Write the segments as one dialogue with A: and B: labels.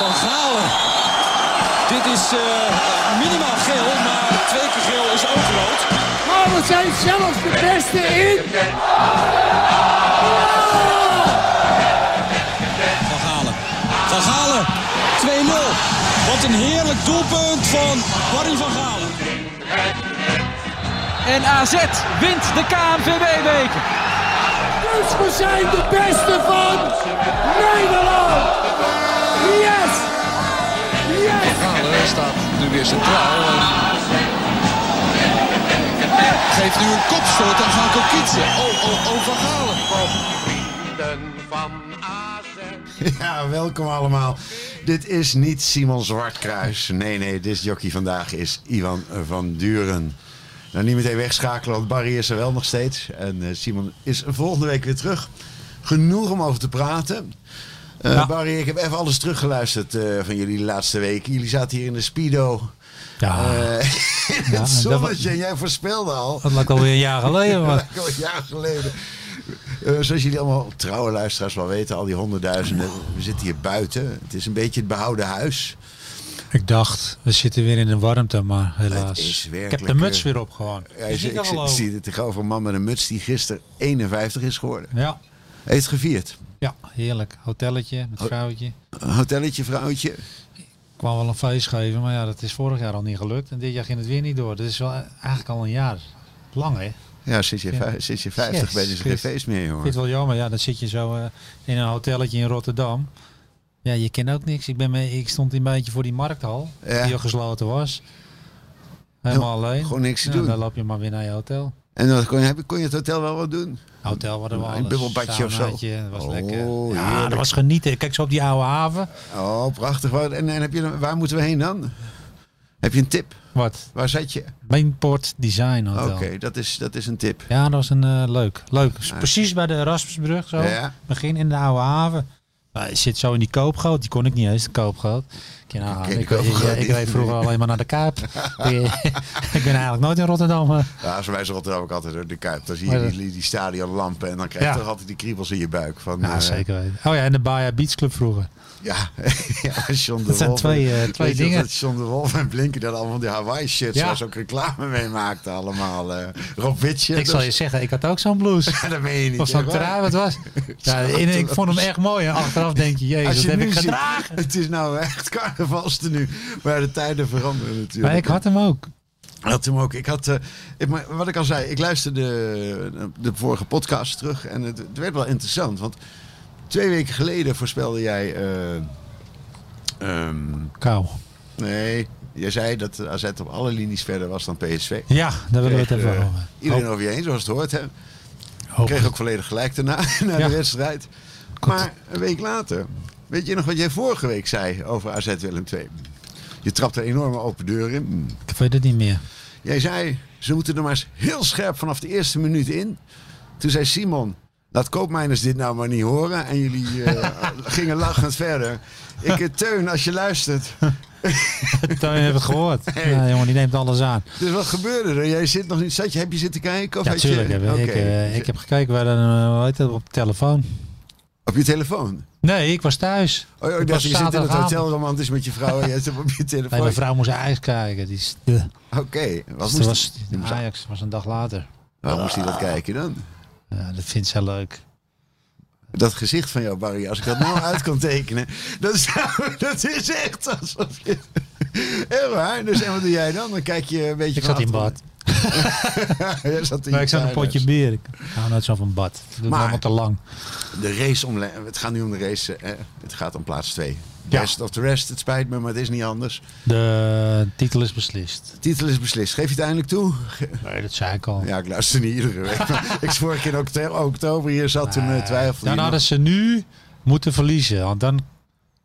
A: Van Galen. Dit is uh, minimaal geel, maar twee keer geel is ook rood.
B: Maar we zijn zelfs de beste in. Ah,
A: Van Galen. Van Galen. 2-0. Wat een heerlijk doelpunt van Barry van Galen.
C: En AZ wint de KNVB-beker.
B: Dus we zijn de beste van Nederland. Yes! Yes!
D: Galen staat nu weer centraal. En geeft nu een kopstoot aan Van Kokitsen. Oh, oh, oh, Van Galen.
E: Ja, welkom allemaal. Dit is niet Simon Zwartkruis. Nee, nee, dit jockey vandaag is Ivan van Duren. Nou, niet meteen wegschakelen, want Barry is er wel nog steeds. En eh, Simon is volgende week weer terug. Genoeg om over te praten. Eh,
F: Ja.
E: Barry, ik heb even alles teruggeluisterd eh, van jullie de laatste week. Jullie zaten hier in de Speedo.
F: Ja,
E: eh, in
F: dat
E: het
F: was-
E: zonnetje. En jij voorspelde al.
F: dat lijkt alweer een jaar geleden. Maar...
E: Al een jaar geleden. Eh, zoals jullie allemaal trouwe luisteraars wel weten, al die honderdduizenden. We zitten hier buiten. Het is een beetje het behouden huis.
F: Ik dacht, we zitten weer in de warmte, maar
E: Het
F: helaas.
E: is
F: ik
E: werkelijk,
F: heb de muts
E: eh,
F: weer op gewoon.
E: Ja,
F: Is
E: ik,
F: die
E: ik,
F: er al over?
E: zie het tegenover een man met een muts die gisteren 51 is geworden.
F: Ja,
E: Hij heeft gevierd.
F: ja, heerlijk. Hotelletje met vrouwtje. Ik
E: Een hotelletje, vrouwtje.
F: kwam wel een feest geven, maar ja, dat is vorig jaar al niet gelukt. En dit jaar ging het weer niet door. Dat is wel eh, eigenlijk al een jaar lang, hè?
E: Ja, sinds je,
F: Ja.
E: vij- sinds je 50
F: Yes,
E: bent is er geen
F: Chris.
E: feest meer,
F: Ik vind
E: jongen.
F: het wel jammer. Ja, dan zit je zo eh, in een hotelletje in Rotterdam. Ja, je kent ook niks. Ik, ben mee, ik stond een beetje voor die markthal,
E: Ja.
F: die al gesloten was. Helemaal alleen.
E: gewoon niks te
F: Ja,
E: doen.
F: Dan loop je maar weer naar je hotel.
E: En dan kon je, heb- kon je het hotel wel wat doen.
F: Hotel hadden we
E: Een
F: alles.
E: bubbelbadje of zo?
F: Saunaatje, Dat was
E: Oh,
F: lekker. Ja,
E: heerlijk.
F: dat was genieten. Kijk zo op die oude haven.
E: Oh, prachtig. Waar- En, en heb je, dan- waar moeten we heen dan? Heb je een tip?
F: Wat?
E: Waar zat je?
F: Mainport Design
E: Oké,
F: Hotel.
E: dat, is, dat is een tip.
F: Ja, dat was een eh, leuk. Leuk. Dus Precies bij de Erasmusbrug zo.
E: Ja.
F: Begin in de oude haven. Maar je zit zo in die koopgoot. Die kon ik niet eens, de koopgoot. Ik, nou,
E: ken
F: ik,
E: die
F: ik,
E: koopgoot
F: ik
E: niet.
F: reed vroeger alleen maar naar de Kuip. ik ben eigenlijk nooit in Rotterdam. eh.
E: Ja, zo wijs Rotterdam ook altijd door de Kuip. Dan zie
F: Maar
E: je
F: dat-
E: die, die stadionlampen en dan krijg je
F: Ja.
E: toch altijd die kriebels in je buik. Van,
F: Nou,
E: eh,
F: zeker weten. Oh ja, en de Baia Beach Club vroeger.
E: Ja, ja John de
F: Dat zijn
E: Wolf.
F: twee, eh,
E: Weet
F: twee
E: je nog
F: dingen.
E: Dat John de Wolf en Blinken daar allemaal die Hawaii-shirts
F: Ja.
E: waar ze ook reclame mee maakten allemaal. eh Rob Witje.
F: Ik zal je zeggen, ik had ook zo'n blouse.
E: dat meen je niet.
F: Of zo'n
E: echt waar.
F: trui, wat was? Ja, in- ik vond hem echt mooi. En achteraf denk je, jezus,
E: Als
F: dat
E: je
F: heb
E: nu
F: ik
E: ziet-
F: gedragen.
E: Het is nou echt carnavalstenu. Maar de tijden veranderen natuurlijk.
F: Maar ik had hem ook.
E: had hem ook. Ik had, eh, ik, maar wat ik al zei, ik luisterde de, de vorige podcast terug en het, het werd wel interessant. Want twee weken geleden voorspelde jij. eh, ehm,
F: Kou.
E: nee, jij zei dat AZ op alle linies verder was dan PSV.
F: Ja, daar willen we het
E: Kreeg,
F: even
E: eh,
F: over.
E: Iedereen over je heen, zoals het hoort. Hè.
F: Hoop-
E: Kreeg ook volledig gelijk daarna na
F: Ja.
E: de wedstrijd. Maar een week later, weet je nog wat jij vorige week zei over AZ Willem II? Je trapt er enorme open deur in.
F: Ik weet het niet meer.
E: Jij zei, ze moeten er maar eens heel scherp vanaf de eerste minuut in. Toen zei Simon, laat koopmijners dit nou maar niet horen. En jullie eh, gingen lachend verder. Ik, eh, Teun, als je luistert.
F: Toen heb het gehoord. Ja, jongen, die neemt alles aan.
E: Dus wat gebeurde er? Jij zit nog niet, zat je, heb je zitten kijken? Of
F: Ja,
E: had je-
F: tuurlijk. heb ik- ik,
E: Oké.
F: eh, ik heb gekeken bij de, eh, hoe heet dat, op de telefoon.
E: Op je telefoon?
F: Nee, ik was thuis.
E: Oh, ja, ik
F: Het
E: dacht,
F: was
E: je zit in het
F: zaterdagavond.
E: hotel romantisch met je vrouw en je zit op je telefoon.
F: Nee, mijn vrouw moest ijs kijken. Die, is- de,
E: Oké, wat
F: was,
E: moest,
F: was,
E: die moest-
F: Ajax was een dag later.
E: waarom moest hij dat kijken dan?
F: Ja, dat vindt zij leuk.
E: Dat gezicht van jou, Barry, als ik dat nou uit kan tekenen, dat is, dat is echt alsof je... Heel waar, dus en wat doe jij dan? Dan kijk je een beetje
F: Ik zat in
E: van
F: bad.
E: achter- Jij zat in
F: Maar
E: je
F: ik zat in een
E: tuinhuis.
F: potje bier. Ik hou nooit zo van bad. Dat doe ik
E: Maar-
F: allemaal te lang.
E: De race om... Het gaat nu om de race. eh, Het gaat om plaats 2.
F: Ja.
E: Best of the rest, het spijt me, maar het is niet anders.
F: De titel is beslist.
E: De titel is beslist. Geef je het eindelijk toe? Ge-
F: Nee, dat zei ik al.
E: Ja, ik luister niet iedere week. maar ik was vorige keer in oktober, oktober hier zat, toen eh, twijfelde
F: Dan
E: je
F: hadden
E: nog.
F: ze nu moeten verliezen. Want dan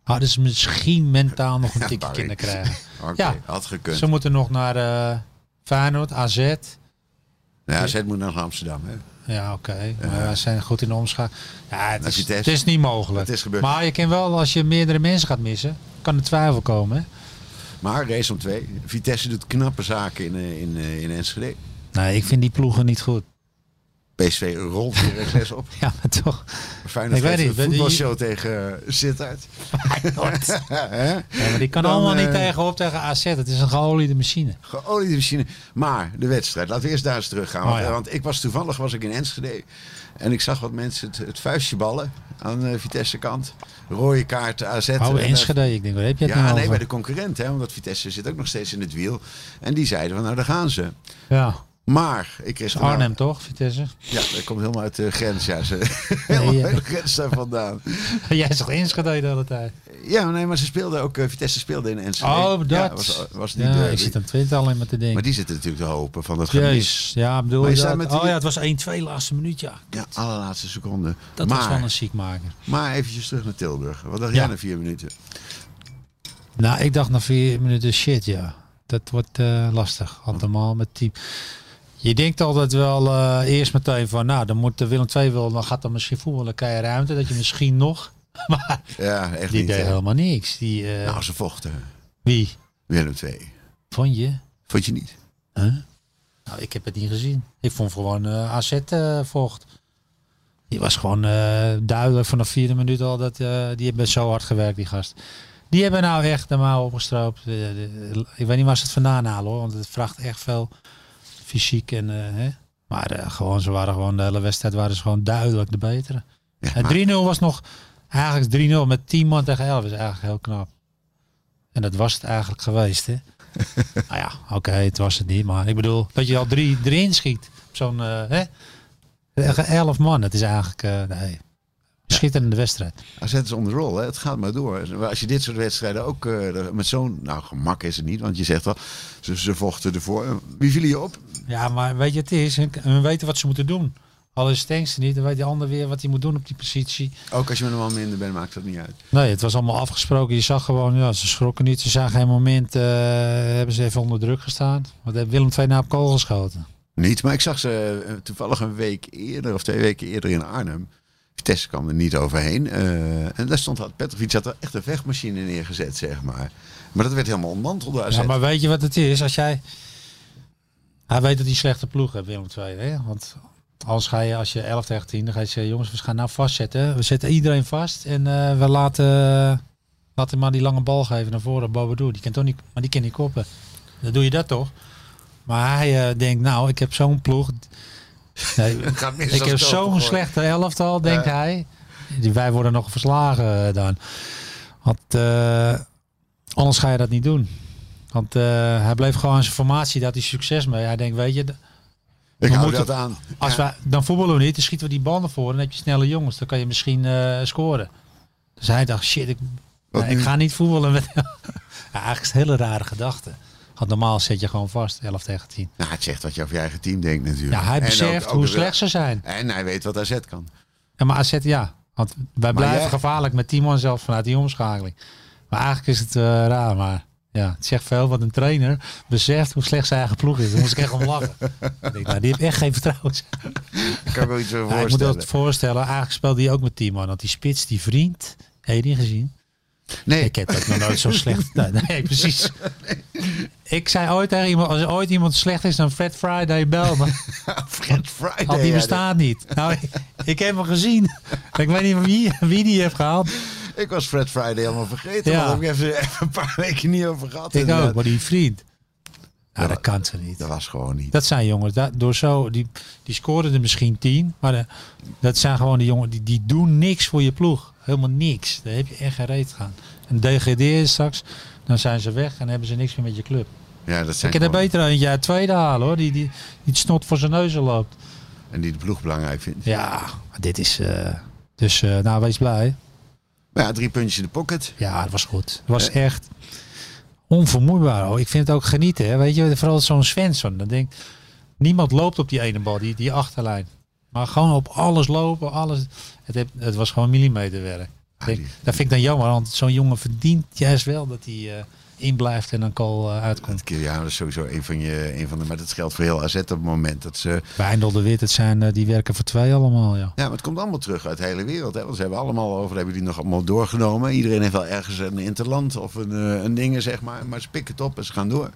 F: hadden ze misschien mentaal nog een tikje
E: Barry.
F: kunnen krijgen.
E: Oké,
F: ja.
E: had gekund.
F: Ze moeten nog naar eh Feyenoord, AZ.
E: Ja, zet moet naar Amsterdam. Hè.
F: Ja, oké. Maar wij zijn goed in de omschakeling. Ja, het is,
E: Vitesse.
F: het is niet mogelijk.
E: Het is gebeurd.
F: Maar je kan wel, als je meerdere mensen gaat missen, kan er twijfel komen. Hè?
E: Maar race om twee. Vitesse doet knappe zaken in, eh, in, eh, in Enschede.
F: Nee, ik vind die ploegen niet goed.
E: PSV rolt weer rechts op.
F: Ja, maar toch.
E: Feyenoord
F: Ik weet
E: heeft
F: niet,
E: een
F: die-
E: voetbalshow tegen eh, Sittard. Hè?
F: Ja, maar die kan
E: Dan,
F: allemaal niet
E: eh,
F: tegenop tegen AZ. Het is een geoliede machine.
E: Geoliede machine. Maar de wedstrijd. Laten we eerst daar eens teruggaan.
F: Oh,
E: Want,
F: ja.
E: want ik was toevallig was ik in Enschede. En ik zag wat mensen het, het vuistje ballen aan de Vitesse kant. Rode kaart AZ.
F: Oude
E: En, eh,
F: Enschede, ik denk, waar heb je het
E: Ja,
F: nou
E: nee, bij
F: over?
E: de concurrent. Hè, omdat Vitesse zit ook nog steeds in het wiel. En die zeiden van nou daar gaan ze.
F: Ja,
E: Maar ik kreeg daarna-
F: Arnhem toch, Vitesse?
E: Ja, dat komt helemaal uit de grens. Ja, ze, helemaal
F: Nee, eh. ja.
E: uit de grens daar vandaan.
F: Jij zegt Enschede de hele tijd.
E: Ja, nee, maar ze speelden ook. eh, Vitesse speelde in Enschede.
F: Oh, dat.
E: Ja, was, eh, was die
F: Ja,
E: derby.
F: ik zit aan Twente alleen maar te denken.
E: Maar die zitten natuurlijk te hopen van dat gemis.
F: Jezus, ja, bedoel
E: Maar
F: je
E: je staat
F: dat?
E: met die-
F: Oh ja, het was 1-2 laatste minuut, ja.
E: Ja, allerlaatste seconde.
F: Dat
E: maar,
F: was wel een ziekmaker.
E: maar eventjes terug naar Tilburg. Wat dacht
F: Ja.
E: jij na vier minuten?
F: Nou, ik dacht na vier minuten shit, ja. Dat wordt eh, lastig, allemaal met team. Je denkt altijd wel eh, eerst meteen van, nou, dan moet de Willem II wel, dan gaat er misschien voetballen, krijg je ruimte, dat je misschien nog. Maar
E: Ja, echt
F: die
E: niet.
F: deed
E: hè?
F: helemaal niks. Die, eh,
E: Nou, ze vochten.
F: Wie?
E: Willem II.
F: Vond je?
E: Vond je niet?
F: Nou, ik heb het niet gezien. Ik vond gewoon eh, AZ eh, vocht. Die was gewoon eh, duidelijk vanaf vierde minuut al. Dat, eh, die hebben zo hard gewerkt, die gast. Die hebben nou echt de mouw opgestroopt. Eh, de- ik weet niet waar ze het vandaan halen hoor. Want het vraagt echt veel fysiek. En, eh, hè. Maar eh, gewoon, ze waren gewoon de hele wedstrijd waren ze gewoon duidelijk de betere.
E: Ja,
F: En
E: maar-
F: 3-0 was nog eigenlijk 3-0 met 10 man tegen 11. is eigenlijk heel knap. En dat was het eigenlijk geweest, hè? nou ja, oké, het was het niet. Maar ik bedoel, dat je al drie erin schiet. op Zo'n, eh, hè? Tegen 11 man, dat is eigenlijk, eh nee. Schitterende wedstrijd.
E: AZ is on the roll, hè? het gaat maar door. Als je dit soort wedstrijden ook eh, met zo'n... Nou, gemak is het niet, want je zegt wel, ze, ze vochten ervoor. Wie viel je op?
F: Ja, maar weet je, het is, hun- hun weten wat ze moeten doen. Al is Stengs niet, dan weet de ander weer wat hij moet doen op die positie.
E: Ook als je met een man minder bent, maakt dat niet uit.
F: Nee, het was allemaal afgesproken. Je zag gewoon, ja, ze schrokken niet. Ze zagen geen moment, eh, hebben ze even onder druk gestaan. Wat heeft Willem II nou op kool geschoten?
E: Niet, maar ik zag ze eh, toevallig een week eerder of twee weken eerder in Arnhem. Vitesse kwam er niet overheen. eh, en daar stond had Petrovic had er echt een vechtmachine neergezet, zeg maar. Maar dat werd helemaal ontmanteld door AZ.
F: Ja, maar weet je wat het is? Als jij... Hij weet dat hij slechte ploeg heeft, Willem II. Hè? Want anders ga je, als je 11 tegen 10, dan ga je zeggen... Jongens, we gaan nou vastzetten. We zetten iedereen vast. En eh, we laten, laten maar die lange bal geven naar voren. Bobadou, die kan toch niet... Maar die kan niet koppen. Dan doe je dat toch? Maar hij eh, denkt, nou, ik heb zo'n ploeg... Nee,
E: Gaat mis
F: ik
E: als
F: heb
E: het open
F: zo'n
E: wordt.
F: slechte elftal, denkt hij. Die- Wij worden nog verslagen eh, dan. Want eh, anders ga je dat niet doen. Want eh, hij bleef gewoon aan zijn formatie, daar had hij succes mee. Hij denkt, weet je, d-
E: Ik
F: we
E: hou
F: moeten-
E: dat aan.
F: als wij, dan voetballen we niet, dan schieten we die bal naar voren. Dan heb je snelle jongens, dan kan je misschien eh, scoren. Dus hij dacht, shit, ik,
E: Wat
F: nee, ik
E: nu?
F: ga niet voetballen. Met, ja, eigenlijk is het een hele rare gedachte. Want normaal zet je gewoon vast, 11 tegen 10.
E: Nou, het zegt wat je over je eigen team denkt natuurlijk.
F: Ja, hij
E: En ook-
F: beseft
E: ook
F: hoe
E: de-
F: slecht ze zijn.
E: En hij weet wat AZ kan.
F: Ja, maar AZ, ja. Want wij blijven
E: jij-
F: gevaarlijk met Timon zelfs vanuit die omschakeling. Maar eigenlijk is het eh, raar, maar ja, het zegt veel wat een trainer beseft hoe slecht zijn eigen ploeg is. Daar moest ik echt om lachen. ik denk, nou, die heeft echt geen vertrouwen.
E: Ik kan me wel iets voor
F: Ja, ik moet
E: voorstellen.
F: dat voorstellen, eigenlijk speelde hij ook met Timon. Want die spits, die vriend, heb je die gezien?
E: nee,
F: Ik heb dat nog nooit zo slecht. Nee, nee, precies. Ik zei ooit tegen iemand, als er ooit iemand slecht is, dan Fred Friday bel me.
E: Fred Friday.
F: Al die
E: ja,
F: bestaat niet. Nou, ik, ik heb hem gezien. Ik weet niet wie, wie die heeft gehaald.
E: dat- Ik was Fred Friday helemaal vergeten.
F: Ja.
E: Daar heb ik even, even een paar weken niet over gehad.
F: Ik
E: inderdaad.
F: ook, maar die vriend. Nou,
E: Ja,
F: dat kan ze niet.
E: Dat was gewoon niet.
F: Dat zijn jongens, da- door zo, die, die scoren er misschien tien, maar eh, dat zijn gewoon de jongens, die, die doen niks voor je ploeg. Helemaal niks. Daar heb je echt geen reet aan. En degradeer je straks, dan zijn ze weg en hebben ze niks meer met je club.
E: Ja, dat
F: Ik
E: zijn
F: kan er
E: gewoon-
F: beter een jaar tweede halen hoor, die, die, die het snot voor zijn neus loopt.
E: En die de ploeg belangrijk vindt.
F: Ja, maar dit is, eh, dus eh, nou wees blij.
E: Maar ja, drie puntjes in de pocket.
F: Ja, het was goed. Het was echt onvermoeibaar. Oh, ik vind het ook genieten. Hè. Weet je, vooral zo'n Svensson. Dan denk ik, niemand loopt op die ene bal, die, die achterlijn. Maar gewoon op alles lopen, alles. Het, heeft, het was gewoon millimeterwerk. Ik denk,
E: die-
F: dat vind ik dan jammer, want zo'n jongen verdient juist wel dat hij eh, in blijft en dan kool eh, uitkomt.
E: Want Kilian ja, dat is sowieso een van, je, een van de... Maar dat geldt voor heel AZ op het moment. Dat ze,
F: Wijndel de Wit, het zijn, eh, die werken voor twee allemaal, ja.
E: ja, maar het komt allemaal terug uit de hele wereld. Hè? Want ze hebben allemaal over, dat hebben jullie nog allemaal doorgenomen. Iedereen heeft wel ergens een interland of een, eh, een ding, zeg maar. Maar ze pikken het op en ze gaan door.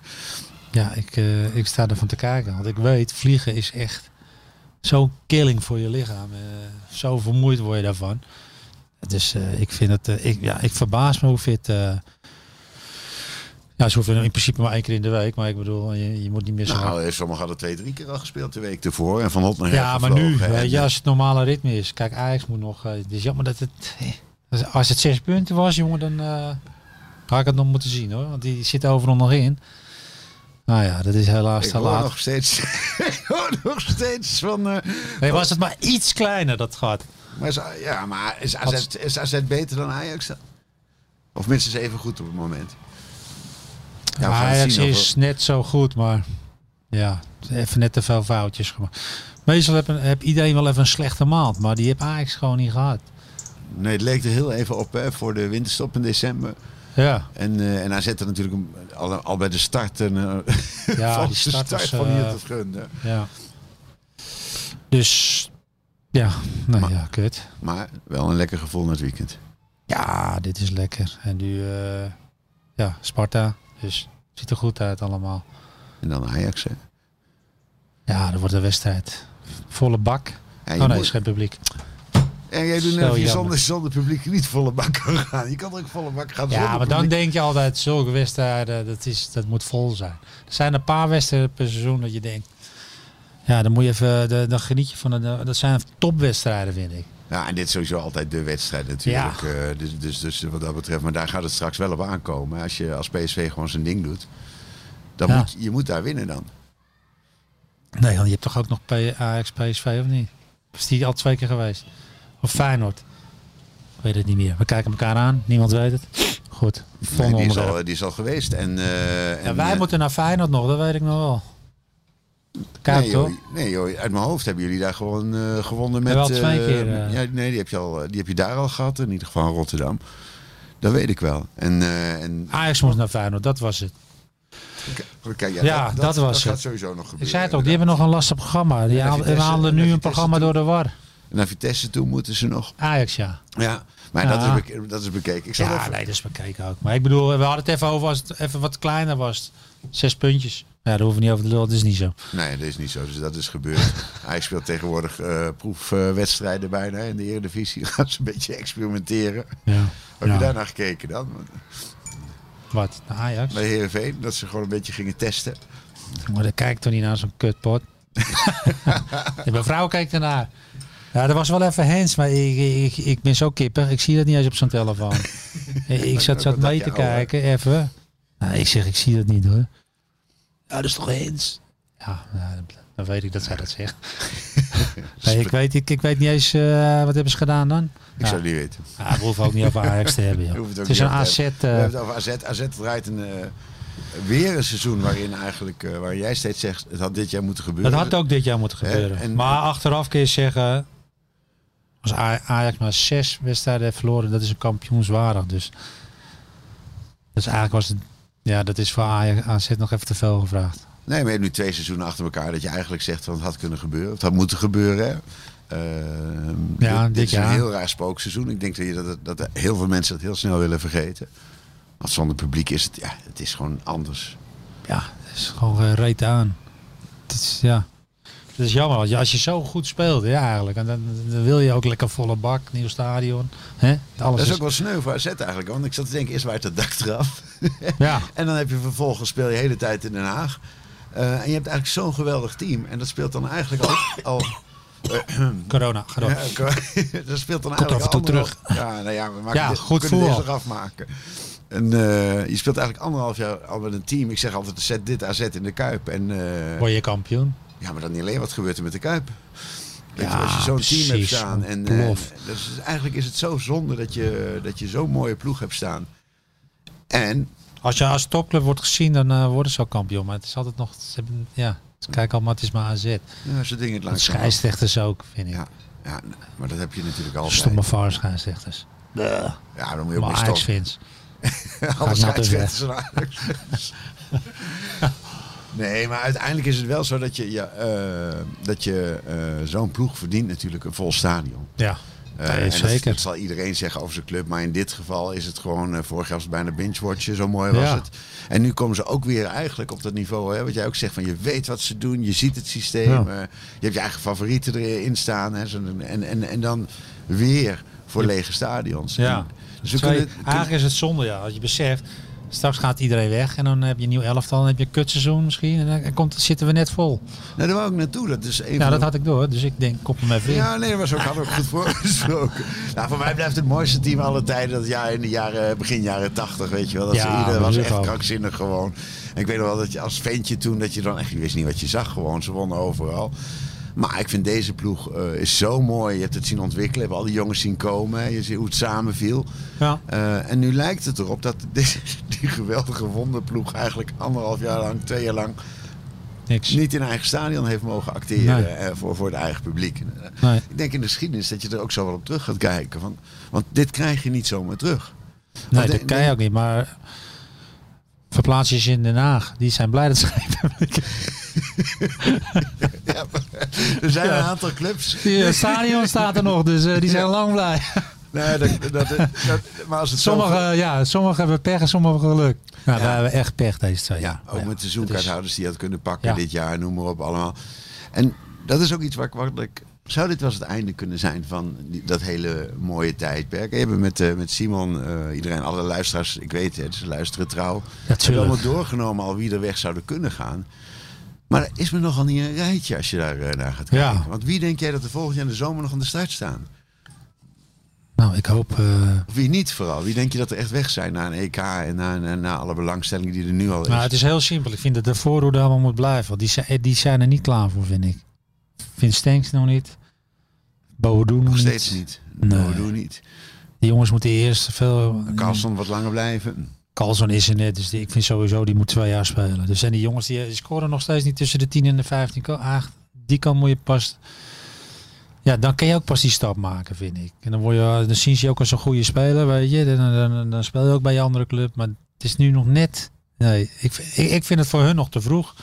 F: Ja, ik, eh, ik sta ervan te kijken. Want ik weet, vliegen is echt zo'n killing voor je lichaam. eh, zo vermoeid word je daarvan. Dus eh, ik vind het, eh, ik, ja, ik verbaas me hoe fit. eh, ja, ze hoeven in principe maar één keer in de week. Maar ik bedoel, je, je moet niet meer zo hard-
E: Nou, eh, sommigen hadden twee, drie keer al gespeeld de week ervoor. En van hot naar
F: Ja,
E: her
F: maar nu,
E: gevlogen. En- eh,
F: weet je, als het normale ritme is. Kijk, Ajax moet nog. eh, Het is jammer dat het. Als het zes punten was, jongen, dan eh, had ik het nog moeten zien hoor. Want die zit overal nog in. Nou ja, dat is helaas
E: Ik
F: te
E: hoor
F: laat.
E: nog steeds, ik hoor nog steeds van... eh,
F: Nee, was het maar iets kleiner dat gat.
E: maar is, ja, maar is AZ, is AZ beter dan Ajax dan? Of minstens even goed op het moment? Ja, we gaan het
F: Ajax
E: zien of we-
F: is net zo goed, maar ja, even net te veel foutjes gemaakt. Meestal heb, een- heb iedereen wel even een slechte maand, maar die heb Ajax gewoon niet gehad.
E: Nee, het leek er heel even op hè, voor de winterstop in december.
F: Ja,
E: En, eh en AZ had natuurlijk een- al, al bij de start een eh,
F: ja
E: valse
F: die start was,
E: van
F: eh,
E: hier te gunnen.
F: Ja. Dus ja, nou ja, kut.
E: Maar wel een lekker gevoel na het weekend.
F: Ja, dit is lekker. En nu, eh, ja, Sparta. Dus het ziet er goed uit allemaal.
E: En dan Ajax. Hè.
F: Ja, dat wordt een wedstrijd. Volle bak.
E: En, je
F: oh nee,
E: moet-
F: is geen publiek.
E: en jij doet
F: Zo
E: net of je
F: jammer.
E: zonder, zonder publiek niet volle bak kan gaan. Je kan ook volle bak gaan
F: Ja,
E: zonder
F: maar dan
E: publiek.
F: denk je altijd, zulke wedstrijden, dat, is, dat moet vol zijn. Er zijn een paar wedstrijden per seizoen dat je denkt, ja, dan moet je even, eh, de- dan geniet je van, de, dat zijn topwedstrijden vind ik.
E: Ja, en dit is sowieso altijd de wedstrijd natuurlijk. Eh, dus, dus, dus wat dat betreft. Maar daar gaat het straks wel op aankomen. Als je als PSV gewoon zijn ding doet. Dan
F: Ja.
E: moet, je- je moet daar winnen dan.
F: Nee, want je hebt toch ook nog P- Ajax, PSV of niet? Is die al twee keer geweest? Of Feyenoord? Ik weet het niet meer. We kijken elkaar aan. Niemand weet het. Goed.
E: Nee,
F: Volgende
E: die, is
F: onderwerp.
E: al, die is al geweest. En, eh, en,
F: Ja, wij
E: eh,
F: moeten naar Feyenoord nog. Dat weet ik nog wel. Kijk
E: nee,
F: toch?
E: joh, nee joh, uit mijn hoofd hebben jullie daar gewoon eh, gewonnen met...
F: Wel twee
E: eh,
F: keer, eh.
E: ja, nee, die heb, je al, die heb je daar al gehad. In ieder geval in Rotterdam. Dat weet ik wel. En, eh, en
F: Ajax moest naar Feyenoord. Dat was het.
E: kijk,
F: Ja, dat was
E: Dat gaat
F: het.
E: sowieso nog gebeuren.
F: Ik zei het ook. Die hebben nog een lastig programma. Die
E: Ja,
F: haal-
E: Vitesse-
F: haalden nu
E: Vitesse
F: een programma
E: toe.
F: door de war.
E: En naar Vitesse toe moeten ze nog.
F: Ajax, ja.
E: Ja, maar
F: Ja.
E: Dat, is beke- dat is bekeken. Ik zal
F: Ja,
E: even,
F: nee, dat is bekeken ook. Maar ik bedoel, we hadden het even over als het even wat kleiner was. Zes puntjes. Ja, daar hoeven we niet over te lullen. Dat is niet zo.
E: Nee, dat is niet zo. Dus dat is gebeurd. Hij speelt tegenwoordig eh, proefwedstrijden bijna in de Eredivisie. Gaat ze een beetje experimenteren.
F: Ja.
E: Heb
F: Ja.
E: je daarnaar gekeken dan? Want
F: Wat? Naar Ajax?
E: Bij Heerenveen, dat ze gewoon een beetje gingen testen.
F: Maar dan kijkt toch niet naar zo'n kutpot. Ja, Mijn vrouw kijkt ernaar. Ja, dat was wel even hens, maar ik, ik, ik ben zo kippig. Ik zie dat niet eens op zo'n telefoon. ik zat, zat
E: Wat dacht
F: mee
E: je,
F: te
E: ouwe?
F: kijken, even. Nou, ik zeg, ik zie dat niet hoor. Ja, dat is toch hens? Ja, nou, dan- dan weet ik dat zij dat zegt. nee, ik, weet, ik, ik weet niet eens, eh, wat hebben ze gedaan dan?
E: Ik zou het niet weten.
F: Ja, Ah, we hoeven ook niet over Ajax te hebben.
E: Je
F: Joh.
E: hoeft
F: Het,
E: ook
F: is
E: niet
F: een
E: op te
F: AZ.
E: hebben. We
F: eh,
E: hebben het over AZ. AZ draait een, eh, weer een seizoen waarin eigenlijk, eh, waar jij steeds zegt, het had dit jaar moeten gebeuren.
F: Dat had ook dit jaar moeten
E: Hè,
F: gebeuren.
E: en-
F: maar achteraf kun je zeggen, als A- Ajax maar zes wedstrijden heeft verloren, dat is een kampioenswaardig. Dus dat is eigenlijk was het, ja, dat is voor Ajax AZ nog even te veel gevraagd.
E: Nee, maar je hebt nu twee seizoenen achter elkaar dat je eigenlijk zegt van het had kunnen gebeuren. Het had moeten gebeuren. Hè? Ehm,
F: Ja,
E: dit,
F: dit
E: is een
F: jaar.
E: heel raar spookseizoen. Ik denk dat, je dat, dat heel veel mensen dat heel snel willen vergeten. Want zonder publiek is het, ja, het is gewoon anders.
F: Ja, dat is gewoon eh, reet aan. Het is, ja. Het is jammer, want je- als je zo goed speelt, ja eigenlijk, en dan, dan wil je ook lekker volle bak, nieuw stadion. Hè? Alles
E: Dat is
F: is-
E: ook wel sneu voor AZ eigenlijk. Want ik zat te denken, eerst waait het dak eraf.
F: Ja.
E: en dan heb je vervolgens, speel je de hele tijd in Den Haag. Eh, en je hebt eigenlijk zo'n geweldig team. En dat speelt dan eigenlijk al... al
F: Oh. Corona, corona.
E: ja, ik- dat speelt dan eigenlijk
F: af en toe
E: anderhalf- Ja, nou ja, we maken
F: Ja,
E: dit,
F: goed
E: we kunnen
F: voetbal.
E: dit eraf maken. En eh, je speelt eigenlijk anderhalf jaar al met een team. Ik zeg altijd, zet dit AZ in de Kuip. En, eh,
F: Word je kampioen?
E: ja, maar dan niet alleen wat gebeurt er met de Kuip. Weet je,
F: Ja,
E: als je zo'n team hebt
F: precies,
E: staan. En, eh,
F: ontplof.
E: dat is, eigenlijk is het zo zonde dat je, dat je zo'n mooie ploeg hebt staan. En
F: Als je als topclub wordt gezien, dan eh, worden ze al kampioen. Maar het is altijd nog... Ze hebben, ja, ze kijken allemaal, het is maar AZ.
E: ja, ze nou, dingen het
F: Want
E: langs.
F: scheidsrechters ook, vind ik.
E: Ja, ja, maar dat heb je natuurlijk altijd.
F: Stomme VAR scheidsrechters.
E: Ja, dan moet je ook
F: Maar
E: maar
F: Ajax
E: stoppen.
F: fans.
E: Alle
F: Gaat nou
E: scheidsrechters zijn Ajax. Nee, maar uiteindelijk is het wel zo dat je, ja, eh, dat je eh, zo'n ploeg verdient natuurlijk een vol stadion.
F: Ja.
E: Eh, Eh,
F: Nee,
E: en dat-
F: zeker.
E: Dat zal iedereen zeggen over zijn club. Maar in dit geval is het gewoon... eh, vorig jaar was het bijna binge-watchen. Zo mooi was
F: Ja.
E: het. En nu komen ze ook weer eigenlijk op dat niveau. Hè, wat jij ook zegt. van Je weet wat ze doen. Je ziet het systeem.
F: Ja.
E: eh, je hebt je eigen favorieten erin staan. Hè, zo- en, en, en dan weer voor lege stadions.
F: Ja.
E: En- dus we
F: Terwijl
E: kunnen,
F: je- Ah. eigenlijk is het zonde, ja. Als je beseft, straks gaat iedereen weg en dan heb je een nieuw elftal, dan heb je een kutseizoen misschien en dan komt, zitten we net vol.
E: nou, daar wou ik naartoe. Dat is een
F: Ja,
E: van
F: dat
E: de
F: had ik door, dus ik denk, kop hem even in.
E: Ja, nee, dat was ook, had ook goed voorgesproken. Nou, voor mij blijft het mooiste team alle tijden dat jaar in de jaren, begin jaren 80, weet je wel. Dat
F: Ja,
E: ze iedereen was
F: natuurlijk
E: echt
F: ook.
E: krankzinnig gewoon. En ik weet nog wel dat je als ventje toen, dat je dan echt, je wist niet wat je zag gewoon. Ze wonnen overal. Maar ik vind deze ploeg eh, is zo mooi. Je hebt het zien ontwikkelen, hebben al die jongens zien komen. hè. Je ziet hoe het samenviel.
F: Ja.
E: Eh, en nu lijkt het erop dat dit, die geweldige wonderploeg eigenlijk anderhalf jaar lang, twee jaar lang
F: Niks.
E: niet in eigen stadion heeft mogen acteren
F: Nee.
E: eh, voor, voor het eigen publiek. Eh,
F: Nee.
E: Ik denk in de geschiedenis dat je er ook zo wel op terug gaat kijken. Want, want dit krijg je niet zomaar terug.
F: Nee,
E: Want
F: dat
E: de-
F: kan je ook niet, maar verplaats je ze in Den Haag. Die zijn blij dat ze geen publiek hebben.
E: Er zijn een aantal clubs.
F: Die, eh, stadion staat er nog, dus eh, die zijn
E: Ja.
F: lang blij.
E: Nee, dat, dat, dat- maar als het zo-
F: Sommigen ja, sommige hebben pech en sommigen geluk. Nou,
E: Ja.
F: we hebben echt pech deze twee Nou
E: Ja,
F: jaar.
E: ook Oh, met de
F: dat
E: seizoenkaarthouders die had kunnen pakken
F: Ja.
E: dit jaar, noem maar op allemaal. En dat is ook iets waar ik wat ik. Zou dit wel eens het einde kunnen zijn van die- dat hele mooie tijdperk? We hebben met, eh, met Simon, eh, iedereen, alle luisteraars, ik weet het, ze luisteren trouw. hebben
F: tuurlijk.
E: allemaal doorgenomen al wie er weg zouden kunnen gaan. Maar er is me nogal niet een rijtje als je daar eh, naar gaat
F: Ja.
E: kijken. Want wie denk jij dat er volgend jaar in de zomer nog aan de start staan?
F: Nou, ik hoop... eh,
E: Of wie niet vooral? Wie denk je dat er echt weg zijn na een EK en na, na, na alle belangstelling die er nu al is?
F: Nou, het is heel simpel. Ik vind dat de voorhoede allemaal moet blijven. Want die, zijn, eh, die zijn er niet klaar voor, vind ik. Vind Stenks nog niet. Boadu nog
E: Nog
F: niet.
E: steeds niet.
F: Nee.
E: Nee. doen niet.
F: Die jongens moeten eerst veel...
E: Carlson wat langer blijven.
F: Carlson is er net. Dus die, ik vind sowieso, die moet twee jaar spelen. Dus en die jongens, die, die scoren nog steeds niet tussen de 10 en de 15. Ko- ah, Die kan moet je pas... Ja, dan kan je ook pas die stap maken, vind ik. En dan, word je, dan zien ze je ook als een goede speler, weet je. Dan, dan, dan, dan speel je ook bij je andere club. Maar het is nu nog net... Nee, ik, vind- ik, ik vind het voor hun nog te vroeg.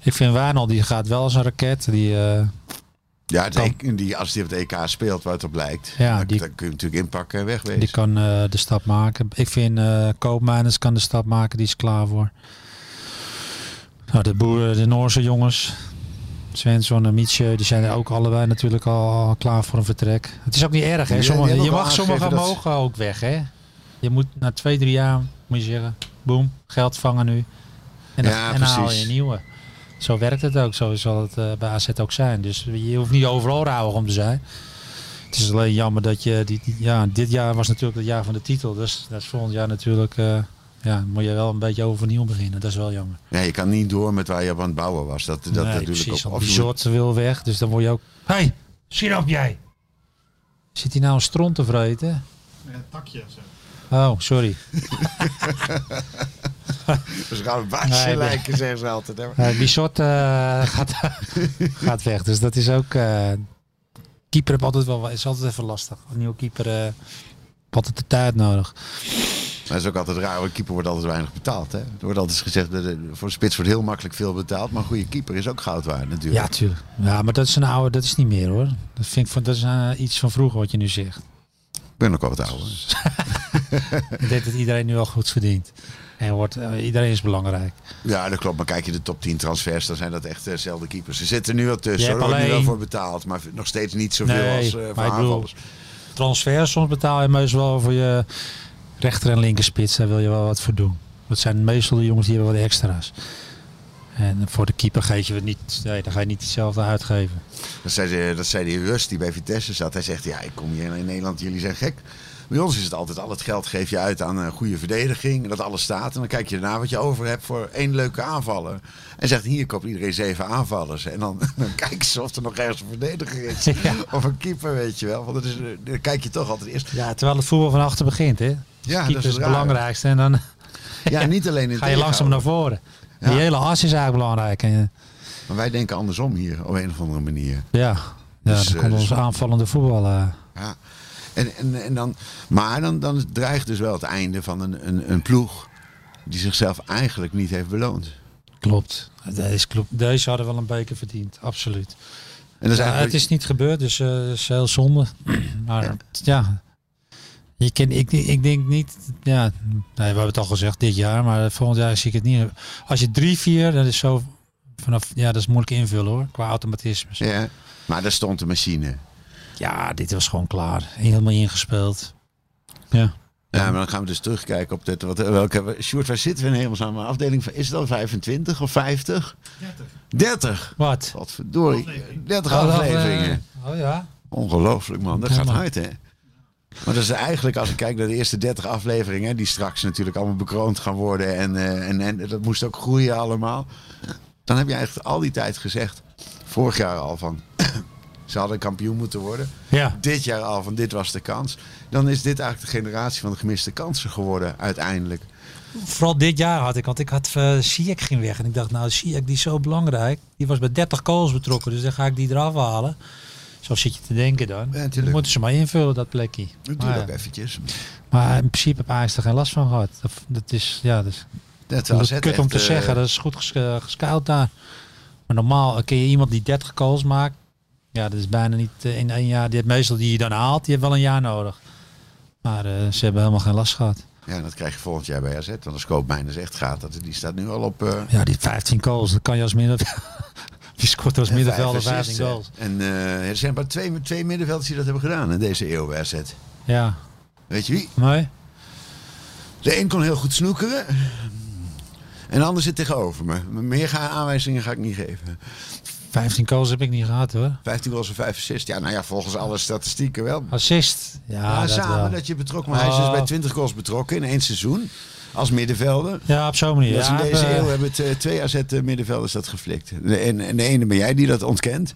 F: Ik vind Wijnald, die gaat wel als een raket. Die, eh,
E: Ja, het
F: Kan.
E: EK die, als die op het EK speelt, waar het op lijkt,
F: Ja,
E: dan,
F: die-
E: dan kun je hem natuurlijk inpakken en wegwezen.
F: die kan eh, de stap maken. Ik vind eh Koopmeiners kan de stap maken. Die is klaar voor. Nou, de boeren, de Noorse jongens. Svensson en Mietje, die zijn er ook allebei natuurlijk al klaar voor een vertrek. Het is ook niet erg, hè?
E: Ja,
F: Sommige,
E: die hebben
F: je
E: ook
F: mag
E: al
F: sommigen
E: aangegeven dat
F: mogen ook weg, hè? Je moet na twee, drie jaar, moet je zeggen, boem, geld vangen nu. En dan,
E: Ja,
F: en dan haal je
E: precies.
F: een nieuwe. Zo werkt het ook, zo zal het eh, bij AZ ook zijn. Dus je hoeft niet overal rauwig om te zijn. Het is alleen jammer dat je, die, die- ja, dit jaar was natuurlijk het jaar van de titel. Dus dat is volgend jaar natuurlijk, eh, ja, moet je wel een beetje overnieuw beginnen. Dat is wel jammer.
E: Ja, je kan niet door met waar je op aan het bouwen was. Dat, dat
F: nee,
E: natuurlijk
F: precies.
E: ook.
F: want
E: Of
F: die
E: je moet-
F: soort wil weg, dus dan word je ook... Hé, hey, schiet op jij! Zit hij nou een stront te vreten?
G: Een takje of zo.
F: Oh, sorry.
E: Dus gaan baasje
F: Nee, ik-
E: lijken, zeggen ze altijd. hè.
F: Eh Bissot eh, gaat, gaat weg, dus dat is ook... eh, keeper heeft altijd wel, is altijd even lastig. Een nieuwe keeper eh, heeft altijd de tijd nodig.
E: Maar dat is ook altijd raar, want keeper wordt altijd weinig betaald. Hè? Er wordt altijd gezegd, dat er- voor een spits wordt heel makkelijk veel betaald. Maar een goede keeper is ook goud waard natuurlijk.
F: Ja, tuurlijk. Ja, maar dat is een oude, dat is niet meer hoor. Dat, vind ik, van- dat is eh, iets van vroeger wat je nu zegt.
E: Ik ben ook al wat ouder.
F: Ik denk dat iedereen nu al goed verdient. En wordt, eh, iedereen is belangrijk.
E: Ja, dat klopt. Maar kijk je de top 10 transfers, dan zijn dat echt dezelfde keepers. Ze zitten nu wel
F: Je
E: tussen. hoor.
F: hebt
E: Daar wordt nu wel
F: alleen-
E: voor betaald. Maar nog steeds niet zoveel
F: Nee,
E: als eh voor
F: maar ik bedoel-
E: aanvallers.
F: Transfer, soms betaal je meestal wel voor je rechter- en linkerspits. Daar wil je wel wat voor doen. Dat zijn meestal de jongens die hebben wat extra's. En voor de keeper geef je het niet, nee, dan ga je niet hetzelfde uitgeven.
E: Dat zei, de- dat zei die Rust die bij Vitesse zat. Hij zegt, ja, ik kom hier in Nederland, jullie zijn gek. Bij ons is het altijd, al het geld geef je uit aan een goede verdediging. Dat alles staat. En dan kijk je daarna wat je over hebt voor één leuke aanvaller. En zegt, hier koopt iedereen zeven aanvallers. En dan, dan kijken ze of er nog ergens een verdediger is.
F: Ja.
E: Of een keeper, weet je wel. Want dat is, eh, dan kijk je toch altijd eerst.
F: Ja, terwijl het voetbal van achter begint, hè?
E: Ja,
F: keeper
E: dat
F: is
E: is
F: het
E: raar.
F: belangrijkste. En dan
E: Ja, niet alleen in
F: ga je langzaam naar
E: tegenhouden.
F: voren.
E: Ja.
F: Die hele as is eigenlijk belangrijk. En,
E: Maar wij denken andersom hier, op een of andere manier.
F: ja, ja
E: Dus,
F: dan
E: eh,
F: komt
E: dus-
F: ons aanvallende voetbal. eh,
E: Ja. En, en, en dan, maar dan, dan dreigt dus wel het einde van een, een, een ploeg die zichzelf eigenlijk niet heeft beloond.
F: Klopt. Dat is klopt. Deze hadden wel een beker verdiend, absoluut.
E: En dat is
F: Ja,
E: eigenlijk...
F: het is niet gebeurd, dus eh, dat is heel zonde. Maar ja, je kan, ik, ik denk niet, ja, nee, we hebben het al gezegd dit jaar, maar volgend jaar zie ik het niet. Als je drie, vier, dat is zo vanaf, ja, dat is moeilijk invullen hoor, qua automatismes. Ja,
E: Ja, maar daar stond de machine.
F: dit was gewoon klaar, helemaal ingespeeld. Ja,
E: Ja, maar dan gaan we dus terugkijken op dit. Wat, welke, Sjoerd, waar zitten we in hemelsnaam? Een Afdeling van, is het al 25 of 50? 30. 30?
F: wat?
E: Wat verdorie. 30
F: Nou,
E: afleveringen.
F: Oh, ja.
E: Ongelooflijk man, dat
F: Ja,
E: gaat
F: man.
E: hard hè. Maar dat is eigenlijk, als ik kijk naar de eerste 30 afleveringen, die straks natuurlijk allemaal bekroond gaan worden en, eh, en, en dat moest ook groeien allemaal. Dan heb je eigenlijk al die tijd gezegd, vorig jaar al van, ze hadden kampioen moeten worden.
F: Ja,
E: Dit jaar al van, dit was de kans. Dan is dit eigenlijk de generatie van de gemiste kansen geworden uiteindelijk.
F: vooral dit jaar had ik, want ik had eh Ziyech ging weg en ik dacht, nou Ziyech die is zo belangrijk, die was bij 30 goals betrokken, dus dan ga ik die eraf halen. Zo zit je te denken dan.
E: Ja,
F: dan
E: natuurlijk.
F: moeten ze maar invullen dat plekje.
E: Natuurlijk
F: Maar,
E: ook eventjes.
F: maar in principe heb Ajax er geen last van gehad. Dat, dat is, ja, dat is,
E: Net
F: dat
E: als
F: is
E: het
F: kut om
E: echt,
F: te
E: eh,
F: zeggen, dat is goed ges, eh, gescout daar. Maar normaal kun je iemand die 30 goals maakt, ja, dat is bijna niet eh, in één jaar. Die heeft meestal die je dan haalt, die heeft wel een jaar nodig. Maar eh, ze hebben helemaal geen last gehad.
E: Ja, dat krijg je volgend jaar bij AZ. Want als Koop Mijners echt gaat, dat, die staat nu al op... eh,
F: Ja, die 15 goals, dat kan je als middenvelder. Die scoort als middenvelder
E: vijf assists,
F: 15
E: hè.
F: goals.
E: En eh, er zijn maar twee, twee middenvelders die dat hebben gedaan in deze eeuw bij AZ.
F: Ja,
E: Weet je wie?
F: mooi.
E: De een kon heel goed snoekeren. En de ander zit tegenover me. Meer ga- aanwijzingen ga ik niet geven.
F: 15 goals heb ik niet gehad hoor.
E: 15 goals en 5 assists. Ja, nou ja, volgens alle statistieken wel.
F: Assist. Ja,
E: Ja,
F: Ah, dat
E: samen
F: wel.
E: dat je betrokken Maar hij is dus
F: Oh.
E: bij 20 goals betrokken in één seizoen. Als middenvelder.
F: Ja, op zo'n manier.
E: Dus in
F: Ja,
E: deze
F: eh,
E: eeuw hebben het, eh, twee AZ-middenvelders dat geflikt. En, en de ene ben jij die dat ontkent.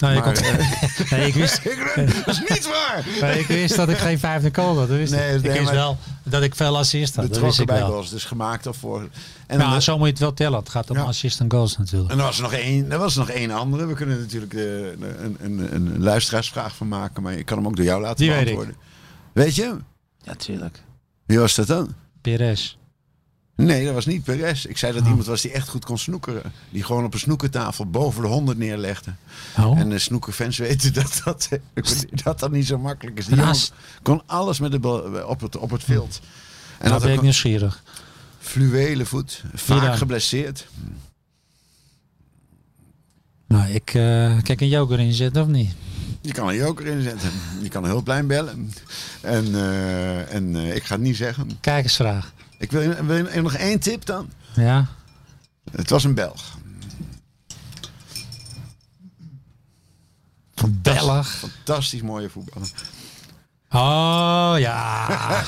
F: nou, je
E: maar, eh,
F: komt- nee, ik wist,
E: dat is niet waar!
F: nee, ik wist dat ik geen 15 goals had. Dat wist
E: Nee,
F: ik. Ik
E: nee,
F: wist
E: maar-
F: wel dat ik veel assist had. Dat wist
E: betrokken
F: ik
E: bij
F: wel.
E: goals. Dus gemaakt of voor. En
F: Nou,
E: dan,
F: zo moet je het wel tellen. Het gaat om
E: Ja.
F: assist en goals natuurlijk.
E: en er was nog één, er was nog één andere. We kunnen natuurlijk eh, een, een, een luisteraarsvraag van maken, maar ik kan hem ook door jou laten
F: Die weet ik.
E: beantwoorden. Weet je? hem?
F: Natuurlijk.
E: Wie was dat dan?
F: Perez.
E: Nee, dat was niet Perez. Ik
F: Oh.
E: zei dat iemand was die echt goed kon snoekeren. Die gewoon op een snoekertafel boven de 100 neerlegde.
F: Oh.
E: En de snoekerfans weten dat dat, dat, dat niet zo makkelijk is. Die
F: Een
E: jongen
F: as.
E: kon alles met de bal eh, op het, op het veld. En
F: nou
E: had
F: ben ik
E: ook een
F: nieuwsgierig.
E: fluwele voet. Vaak
F: Iran.
E: geblesseerd.
F: Nou, ik eh, kijk een joker inzetten of niet?
E: Je kan een joker inzetten. Je kan een hulplijn bellen. En, eh, en eh, ik ga het niet zeggen.
F: Kijkersvraag.
E: Ik wil, je- wil je nog één tip dan.
F: Ja.
E: Het was een Belg.
F: Belg.
E: Fantastisch mooie voetballer.
F: Oh ja.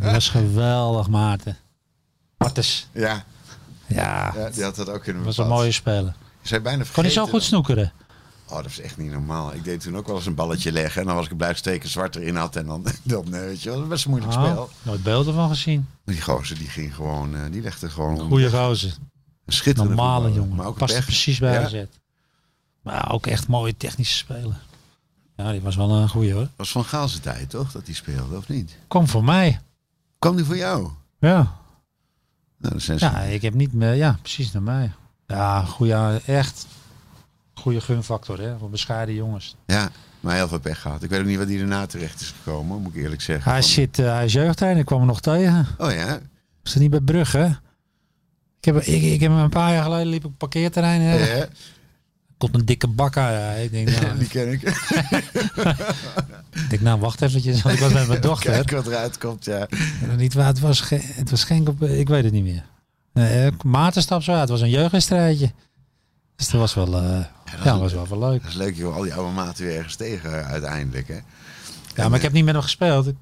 F: dat was geweldig, Maarten. Martens.
E: Ja,
F: Ja,
E: ja, die had dat ook kunnen
F: was een
E: bevatten.
F: mooie speler.
E: Ik zei bijna vergeten.
F: Kon hij zo goed
E: dan.
F: snoekeren?
E: Oh, dat was echt niet normaal. Ik deed toen ook wel eens een balletje leggen. En dan was ik blij dat ik twee keer zwart erin had. En dan, dan eh, weet je wel, dat was best een moeilijk
F: Oh,
E: spel.
F: nooit beelden van gezien.
E: Maar die gozer, die ging gewoon, eh, die legde gewoon onder.
F: Goeie gozer.
E: Een schitterende
F: Normale
E: voetballer,
F: jongen.
E: Maar ook een
F: Past er
E: pech.
F: precies bij
E: Ja,
F: AZ. Maar ook echt mooie technische speler. Ja, die was wel een goeie hoor.
E: was Van Gaalse tijd, toch? Dat hij speelde, of niet?
F: Kom voor mij.
E: Kwam die voor jou?
F: Ja.
E: Nou, dat zijn ze-
F: Ja, ik heb niet meer. Ja, precies naar mij. Ja, goeie, echt. Goede gunfactor, hè? Voor bescheiden jongens.
E: Ja, maar heel veel pech gehad. Ik weet ook niet wat hij daarna terecht is gekomen, moet ik eerlijk zeggen.
F: Hij,
E: Van-
F: zit, eh hij is jeugdtrainer, ik kwam hem nog tegen.
E: Oh ja?
F: Is dat niet bij Brugge? Ik heb, ik, ik heb hem een paar jaar geleden liep ik op het parkeerterrein.
E: Ja,
F: Er komt een dikke bak aan. Ja. Ik, denk, nou,
E: die ken ik.
F: ik denk, nou, wacht eventjes. Want ik was met mijn dochter.
E: Kijk wat eruit komt, ja.
F: En niet waar, het was, ge- het was geen... kop- Ik weet het niet meer. Nee, eh, Maarten stap zo uit. Het was een jeugdwedstrijdje. Dus dat was wel, eh, ja, dat was wel, wel leuk.
E: Dat is leuk, joh. Al die oude maten weer ergens tegen eh, uiteindelijk, hè?
F: Ja, maar ik heb niet met hem gespeeld. Ik-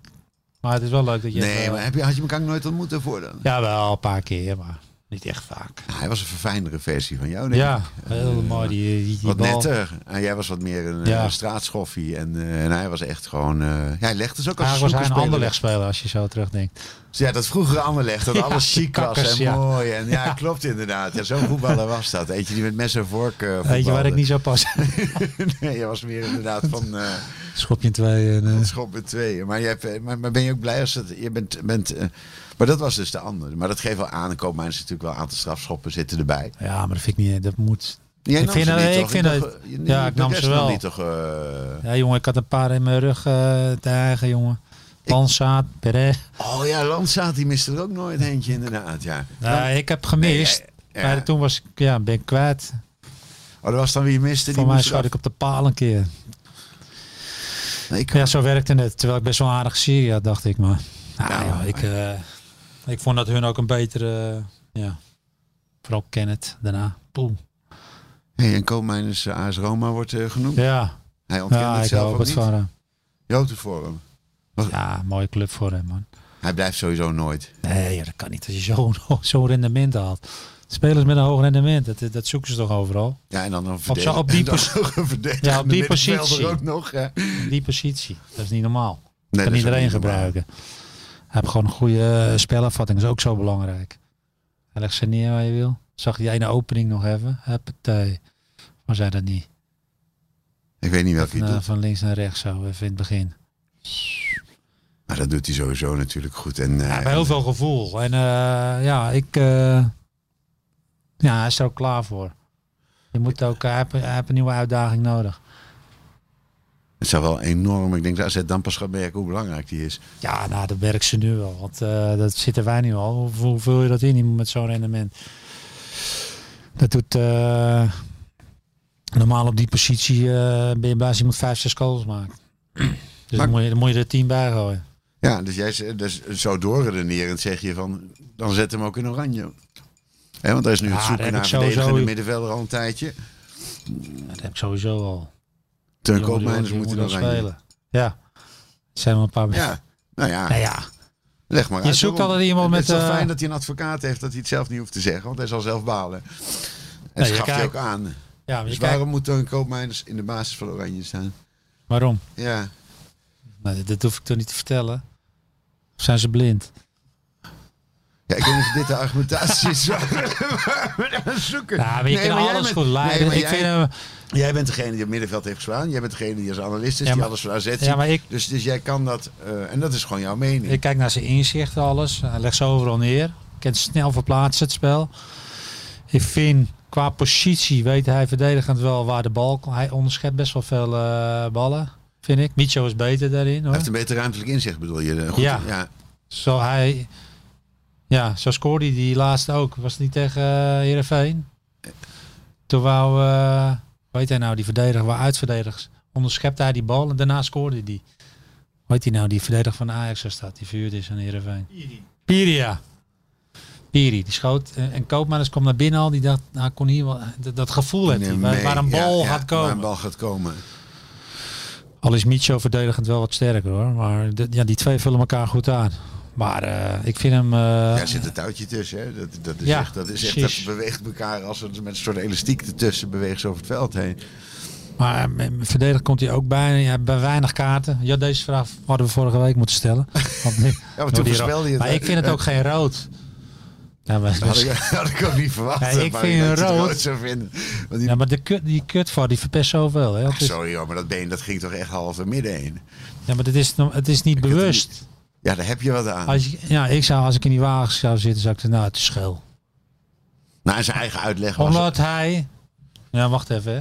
F: Maar het is wel leuk dat je...
E: nee, maar heb je, had je elkaar nooit ontmoet daarvoor dan?
F: Ja, wel een paar keer, maar niet echt vaak.
E: Nou, hij was een verfijndere versie van jou, denk
F: Ja,
E: ik.
F: heel mooi. Die, die, die
E: Wat eh,
F: bal.
E: netter. En jij was wat meer een
F: Ja.
E: eh, straatschoffie. En, eh, en hij was echt gewoon... eh, ja, hij legde dus ook als
F: Eigenlijk was hij
E: snoekerspeler.
F: een ander legspeler als je zo terugdenkt.
E: Ja, dat vroegere Anderlecht, dat
F: Ja,
E: alles
F: de
E: chic was
F: kakkers,
E: en
F: ja.
E: mooi. En ja, klopt inderdaad. Ja, Zo'n voetballer was dat. Eentje die met mes en vork eh
F: Weet je waar ik niet zo pas?
E: voetbalde. nee, jij was meer inderdaad van eh
F: Schopje in twee. En, eh,
E: schop met tweeën. Maar, je hebt, eh, maar, maar ben je ook blij als dat... Je bent, bent, eh, maar dat was dus de ander. Maar dat geeft wel aan. Er komen mensen natuurlijk wel een aantal strafschoppen zitten erbij.
F: Ja, maar dat vind ik niet. Dat moet.
E: Jij
F: Ik
E: nam
F: vind
E: ze
F: dat-
E: niet,
F: ik
E: toch?
F: vind
E: dacht,
F: dat-
E: eh, je-
F: ja,
E: je
F: ik nam
E: best
F: ze wel.
E: Niet, toch, eh,
F: Ja, jongen, ik had een paar in mijn rug eh te eigen, jongen. Pansaat, Perez.
E: Oh ja, Landzaat, die miste er ook nooit eentje inderdaad, ja.
F: Nou, ik heb gemist.
E: Nee, ja, ja.
F: Maar toen was ik, ja, ben ik kwijt.
E: Oh, dat was dan wie je miste. Die
F: Voor mij
E: moest
F: schoot
E: eraf.
F: ik op de paal een keer.
E: Nee, ik-
F: Ja, zo werkte het. Terwijl ik best wel een aardige serie had, dacht ik. Maar nou, joh, ik, eh, ik vond dat hun ook een betere... eh, ja. Vooral Kenneth daarna. Poeh.
E: Hey, en Koopmijners eh, AS Roma wordt eh, genoemd.
F: Ja,
E: Hij ontkent
F: ja
E: het
F: ik
E: zelf
F: hoop
E: ook
F: het
E: niet.
F: van hem.
E: Je hoopt het voor hem.
F: Ja, mooie club voor hem, man.
E: Hij blijft sowieso nooit.
F: Nee, ja, dat kan niet als je zo'n zo'n rendement haalt. Spelers met een hoog rendement, dat, dat zoeken ze toch overal?
E: Ja, en dan een
F: Op zo-
E: verdediger.
F: op die
E: en dan
F: pos-
E: nog een verdediger
F: Ja, op die
E: middenvelder
F: positie.
E: ook nog. hè. Nee,
F: Die positie, dat is niet normaal.
E: dat
F: kan
E: is ook
F: iedereen
E: niet normaal.
F: gebruiken. Hij heeft gewoon een goede eh, spelafvatting, is ook zo belangrijk. Hij legt ze neer waar je wil. Zag die ene opening nog even? Huppatee. Maar zei dat niet.
E: Ik weet niet welke hij
F: Van, eh,
E: doet.
F: van links naar rechts zo, even in het begin.
E: Maar dat doet hij sowieso natuurlijk goed. En, eh,
F: Ja, bij heel veel gevoel. En eh, ja, ik. eh, ja, hij is er ook klaar voor. Je moet ook, eh, hij, heeft, hij heeft een nieuwe uitdaging nodig.
E: het zou wel enorm. Ik denk dat AZ dan pas gaat merken hoe belangrijk die is.
F: Ja, nou, dat werkt ze nu wel. Want eh, dat zitten wij nu al. Hoe, hoe vul je dat in met zo'n rendement? Dat doet. eh, normaal op die positie eh, ben je blij als iemand vijf, zes goals maakt. Dus
E: Maar-
F: dan, moet je, dan moet je er tien bij gooien.
E: Ja, dus jij z- dus zo doorredenerend zeg je van, dan zet hem ook in oranje. Hè, want daar is nu het
F: Ja,
E: zoeken
F: daar heb
E: naar
F: ik
E: verdediger in de
F: sowieso-
E: middenvelder al een tijdje.
F: Dat heb ik sowieso al.
E: Teun
F: Die jongen-
E: Koopmeiners
F: die
E: moet in
F: jongen
E: oranje.
F: wil Ja, Er zijn wel een paar.
E: Ja, nou ja,
F: Nou ja,
E: leg maar
F: Je
E: uit.
F: zoekt
E: waarom.
F: altijd iemand
E: Het is
F: met,
E: toch
F: eh,
E: fijn dat hij een advocaat heeft dat hij het zelf niet hoeft te zeggen, want hij zal zelf balen. En
F: Nee,
E: dat
F: Nou, je
E: gaf hij ook
F: kijkt-
E: aan. Dus
F: ja maar je kijkt.
E: waarom moet Teun Koopmeiners in de basis van oranje staan?
F: Waarom?
E: Ja,
F: Nou, dat hoef ik toch niet te vertellen. Of zijn ze blind?
E: ja ik weet niet of dit de argumentatie is waar waar we naar zoeken.
F: Ja, maar Nou, je
E: Nee,
F: kan
E: maar jij
F: alles
E: bent-
F: goed leiden.
E: nee, maar
F: ik
E: jij-
F: vind, hem-
E: Jij bent degene die het middenveld heeft geslaan. Jij bent degene die als analist is,
F: Ja,
E: die
F: maar-
E: alles voor AZ ziet.
F: ja, maar ik,
E: Dus, dus jij kan dat, eh, en dat is gewoon jouw mening.
F: ik kijk naar zijn inzichten, alles. Hij legt ze overal neer. Kent snel verplaatsen het spel. Ik vind, qua positie weet hij verdedigend wel waar de bal komt. Hij onderschept best wel veel eh, ballen, vind ik. Micho is beter daarin.
E: Hij
F: Hoor.
E: heeft een beter ruimtelijk inzicht, bedoel je? Goed,
F: Ja.
E: ja.
F: Zo hij... Ja, zo scoorde hij die laatste ook. Was het niet tegen eh Heerenveen? Toen wou... eh weet hij nou, die verdediger, waar uitverdedigers. Onderschepte hij die bal en daarna scoorde die. Weet hij nou, die verdediger van Ajax er staat. Die verhuurd is aan Heerenveen. Piri. Piri, ja. Piri, die schoot. En, en Koopmanners kwam naar binnen al. Die dacht, nou kon hier wel... Dat, dat gevoel heeft hij.
E: Nee,
F: Waar,
E: nee,
F: waar een bal
E: ja, ja,
F: gaat komen.
E: Waar een bal gaat komen.
F: Al is Micho verdedigend wel wat sterker hoor. Maar de- ja, die twee vullen elkaar goed aan. Maar eh, ik vind hem... eh,
E: Daar zit een touwtje tussen. Hè? Dat, dat is
F: Ja,
E: echt, dat, is echt, dat
F: precies.
E: beweegt elkaar als het met een soort elastiek ertussen beweegt ze over het veld heen.
F: Maar eh, verdediger komt hij ook bij, ja, bij weinig kaarten. Ja, deze vraag hadden we vorige week moeten stellen. Want nu-
E: Ja, maar
F: door
E: toen
F: die
E: voorspelde
F: rood.
E: je het.
F: Maar ik vind het ook geen rood. Ja, maar,
E: Dat had ik, had ik ook niet verwacht.
F: Nee, Dus- ik
E: maar
F: vind
E: dat je het
F: rood-
E: rood zou vinden. Want die,
F: ja, maar de kut, die kutvar die verpest zoveel. Hè? Het is-
E: sorry hoor, maar dat been dat ging toch echt half door midden heen.
F: ja, maar het is, het is niet
E: heb het
F: bewust.
E: Ja, daar heb je wat aan.
F: Als, je- ja, ik zou, als ik in die wagen zou zitten, zou ik zeggen, nou, het is schil.
E: Nou, en zijn eigen uitleg was
F: Omdat hij... Ja, wacht even. hè.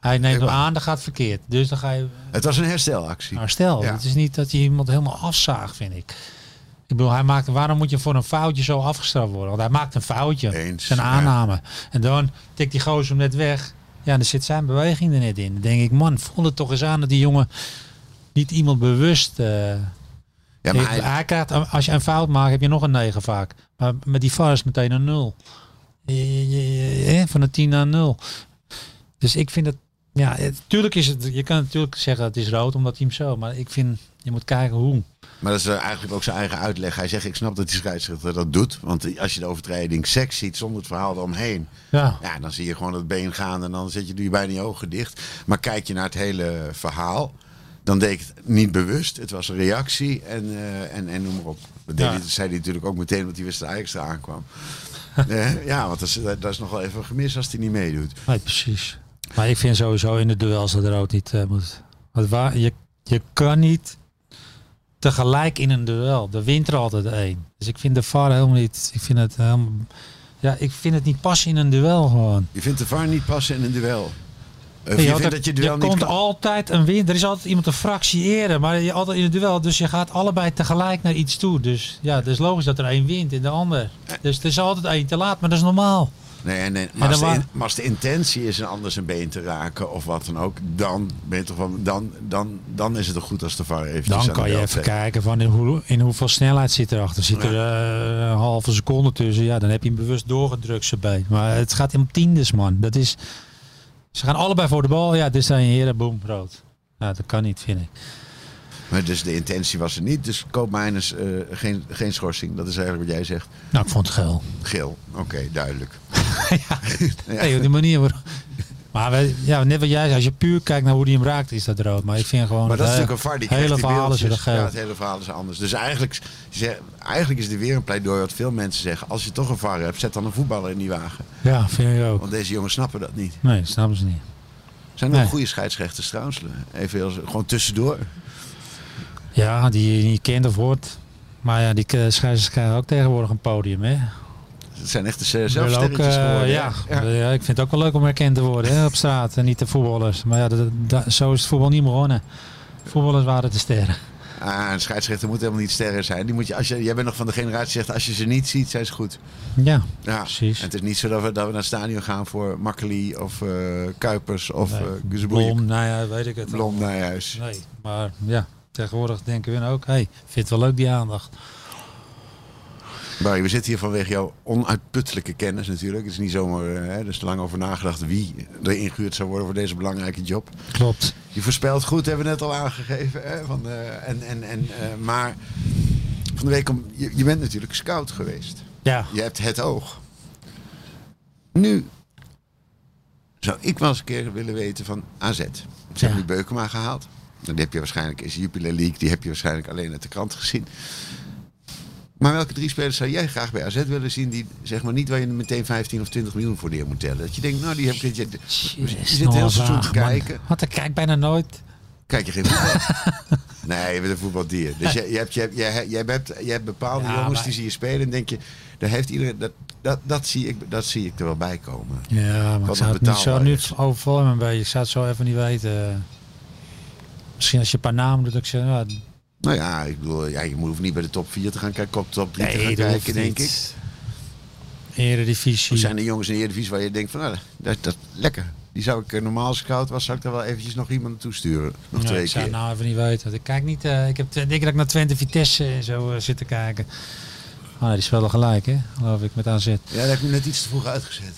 F: Hij neemt hem aan, dat gaat verkeerd. Dus dan ga je
E: het was een herstelactie.
F: Maar stel,
E: Ja.
F: het is niet dat je iemand helemaal afzaagt, vind ik. Ik bedoel, hij maakt, waarom moet je voor een foutje zo afgestraft worden? Want hij maakt een foutje.
E: Eens,
F: zijn
E: ja.
F: aanname. En dan tikt die gozer hem net weg. Ja, dan zit zijn beweging er net in. Dan denk ik, man, voel het toch eens aan dat die jongen niet iemand bewust... eh,
E: Ja,
F: heeft.
E: maar
F: hij,
E: hij,
F: krijgt, als je een fout maakt, heb je nog een 9 vaak. Maar met die VAR is meteen een 0. Je- je- je- je- hè, Van een 10 naar een 0. Dus ik vind het... Ja, natuurlijk is het... Je kan natuurlijk zeggen het is rood, omdat hij hem zo... Maar ik vind... Je moet kijken hoe.
E: Maar dat is eh, eigenlijk ook zijn eigen uitleg. Hij zegt, ik snap dat die scheidsrechter dat doet. Want als je de overtreding seks ziet zonder het verhaal eromheen.
F: Ja.
E: Ja, dan zie je gewoon het been gaan en dan zet je die bijna je ogen dicht. Maar kijk je naar het hele verhaal, dan deed ik het niet bewust. Het was een reactie en, eh, en, en noem maar op. Dat deed
F: Ja.
E: hij- dat zei hij natuurlijk ook meteen, want hij wist dat Ajax eraan kwam. Eh, ja, want dat is, dat is nog wel even gemis als hij niet meedoet.
F: Nee, precies. Maar ik vind sowieso in de duels dat rood niet eh, moet. Want waar, je, je kan niet tegelijk in een duel. Er wint er altijd één. Dus ik vind de VAR helemaal niet... Ik vind het helemaal... Ja, ik vind het niet passen in een duel gewoon.
E: Je vindt de VAR niet passen in een duel. Of
F: Ja,
E: je vindt
F: want
E: dat je
F: er-
E: duel
F: er
E: niet
F: komt
E: kan...
F: altijd een win. Er is altijd iemand een fractie eerder, maar je altijd in het duel. Dus je gaat allebei tegelijk naar iets toe. Dus ja, het is logisch dat er één wint en de ander. Dus er is altijd één te laat, maar dat is normaal.
E: Nee, nee. Maar, als
F: dan
E: de,
F: wa-
E: maar als de intentie is een ander zijn been te raken of wat dan ook, dan, ben je toch wel, dan, dan, dan is het toch goed als de VAR eventjes aan
F: Dan
E: de
F: kan je
E: bel
F: even
E: trekt.
F: kijken van in, hoe, in hoeveel snelheid zit erachter. Zit er eh, een halve seconde tussen, ja, dan heb je hem bewust doorgedrukt zijn been. Maar het gaat om tiendes, man. Dat is, ze gaan allebei voor de bal. Ja, dit zijn heren, boom, rood. Ja, dat kan niet, vind ik.
E: Maar dus de intentie was er niet. Dus Koopmeiners, eh geen, geen schorsing. Dat is eigenlijk wat jij zegt.
F: Nou, ik vond het geil.
E: Geel. Oké, duidelijk.
F: ja. Nee, op die manier waarop. Maar we, ja, net wat jij zei, als je puur kijkt naar hoe die hem raakt, is dat rood. Maar ik vind gewoon.
E: Maar dat is
F: het
E: natuurlijk een VAR die
F: hele
E: krijgt die
F: verhaal is
E: beeldjes.
F: weer geel.
E: Ja, het hele verhaal is anders. Dus eigenlijk, ze- eigenlijk is er weer een pleidooi wat veel mensen zeggen. Als je toch een VAR hebt, zet dan een voetballer in die wagen.
F: Ja, vind ik ook.
E: Want deze jongens snappen dat niet.
F: Nee, dat snappen ze niet.
E: Zijn er
F: Nee.
E: nog goede scheidsrechters trouwens? Even heel- gewoon tussendoor.
F: Ja, die je niet kent of hoort. Maar ja, die eh, scheidsrechters krijgen ook tegenwoordig een podium, hè?
E: Het zijn echt de
F: Ik wil ook,
E: zelfsterretjes
F: eh,
E: geworden. hè?
F: ja. Ja. ik vind het ook wel leuk om herkend te worden hè, op straat en niet de voetballers. Maar ja, dat, dat- zo is het voetbal niet begonnen. Voetballers waren de sterren.
E: Ah, een scheidsrechter moet helemaal niet sterren zijn. Die moet je, als je, jij bent nog van de generatie die zegt, als je ze niet ziet, zijn ze goed.
F: Ja,
E: Ja,
F: Precies.
E: En het is niet zo dat we, dat we naar het stadion gaan voor Makkeli of eh, Kuipers of
F: Nee,
E: eh Gazeboeie.
F: blom, nou ja, weet ik het.
E: Blom naar huis.
F: Nee, maar ja, tegenwoordig denken we nou ook, hé, hey, vind het wel leuk die aandacht.
E: Barry, we zitten hier vanwege jouw onuitputtelijke kennis natuurlijk. Het is niet zomaar, eh, hè, er is lang over nagedacht wie er ingehuurd zou worden voor deze belangrijke job.
F: Klopt.
E: Je voorspelt goed, hebben we net al aangegeven. Hè, van, eh, en, en, en, eh, maar van de week, om, je, je bent natuurlijk scout geweest.
F: Ja,
E: Je hebt het oog. Nu zou ik wel eens een keer willen weten van AZ. Ze hebben die Beukema gehaald. Nou, Die heb je waarschijnlijk is Jupiler League. Die heb je waarschijnlijk alleen uit de krant gezien. Maar welke drie spelers zou jij graag bij AZ willen zien die zeg maar niet waar je meteen 15 of 20 miljoen voor neer moet tellen? Dat je denkt, nou die heb ik dit jaar. Je zit heel seizoen te kijken.
F: nou, Want ik kijk bijna nooit.
E: Kijk je geen voetbal? nee, je bent een voetbaldier. Dus jij, jij, hebt, jij, jij, jij, hebt, jij hebt bepaalde
F: Ja,
E: jongens
F: maar-
E: die zie je spelen en denk je, daar heeft iedereen, dat, dat, dat, zie ik, dat zie ik er wel bij komen.
F: Ja, maar
E: Wat
F: ik zou
E: het
F: het niet zo
E: betaalbaar
F: nu
E: is.
F: overvallen me een beetje. Ik zou het zo even niet weten. Misschien als je een paar namen doet, dat ik zeg, nou,
E: Nou ja, ik bedoel, ja, je hoeft niet bij de top 4 te gaan kijken, op de top 3 te gaan kijken, denk ik.
F: Eredivisie.
E: Er zijn de jongens in de Eredivisie waar je denkt van, nou, dat, dat lekker. Die zou ik eh, normaal als ik koud was, zou ik daar wel eventjes nog iemand naartoe sturen. Nog
F: Ja,
E: twee
F: ik zou
E: keer.
F: het nou even niet weten. want Ik kijk niet. eh, ik heb tw- denk ik dat ik naar Twente Vitesse en zo eh, zit te kijken. Ah, die spelen gelijk, hè? Geloof ik, met AZ.
E: Ja, daar heb je net iets te vroeg uitgezet.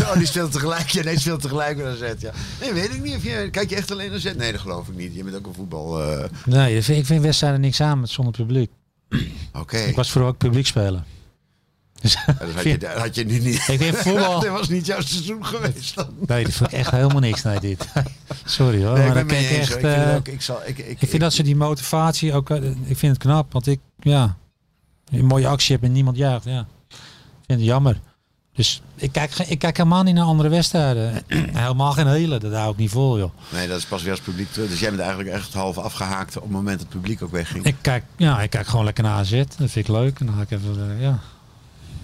E: oh, die speelt tegelijk. Ja, nee, die speelt tegelijk met AZ. Ja. Nee, weet ik niet. Of je, kijk je echt alleen AZ? Nee, dat geloof ik niet. Je bent ook een voetbal... eh,
F: Nee, ik vind- ik vind wedstrijden niks aan met zonder publiek.
E: Oké.
F: Ik was vroeger ook publiek spelen. Dus,
E: Ja, Dat had je, dat had je nu niet.
F: ik vind voetbal.
E: dat was niet jouw seizoen geweest dan.
F: Nee, dat vond ik echt helemaal niks. Nee, dit. Sorry hoor.
E: Nee, ik
F: maar
E: ben
F: dan
E: mee
F: kijk ik
E: eens.
F: echt.
E: hoor. Ik vind
F: eh,
E: het ook- ik zal- ik- ik-
F: ik vind dat ze die motivatie ook. eh, ik vind het knap, want ik, ja, een mooie actie heb en niemand juicht. Ja, ik vind het jammer. Dus ik kijk, ge- ik kijk helemaal niet naar andere wedstrijden. helemaal geen hele, dat hou ik niet vol, joh.
E: Nee, dat is pas weer als publiek terug. Dus jij bent eigenlijk echt half afgehaakt op het moment dat het publiek ook wegging.
F: Ik kijk, ja, ik kijk gewoon lekker naar AZ. Dat vind ik leuk. En dan ga ik even, eh, ja.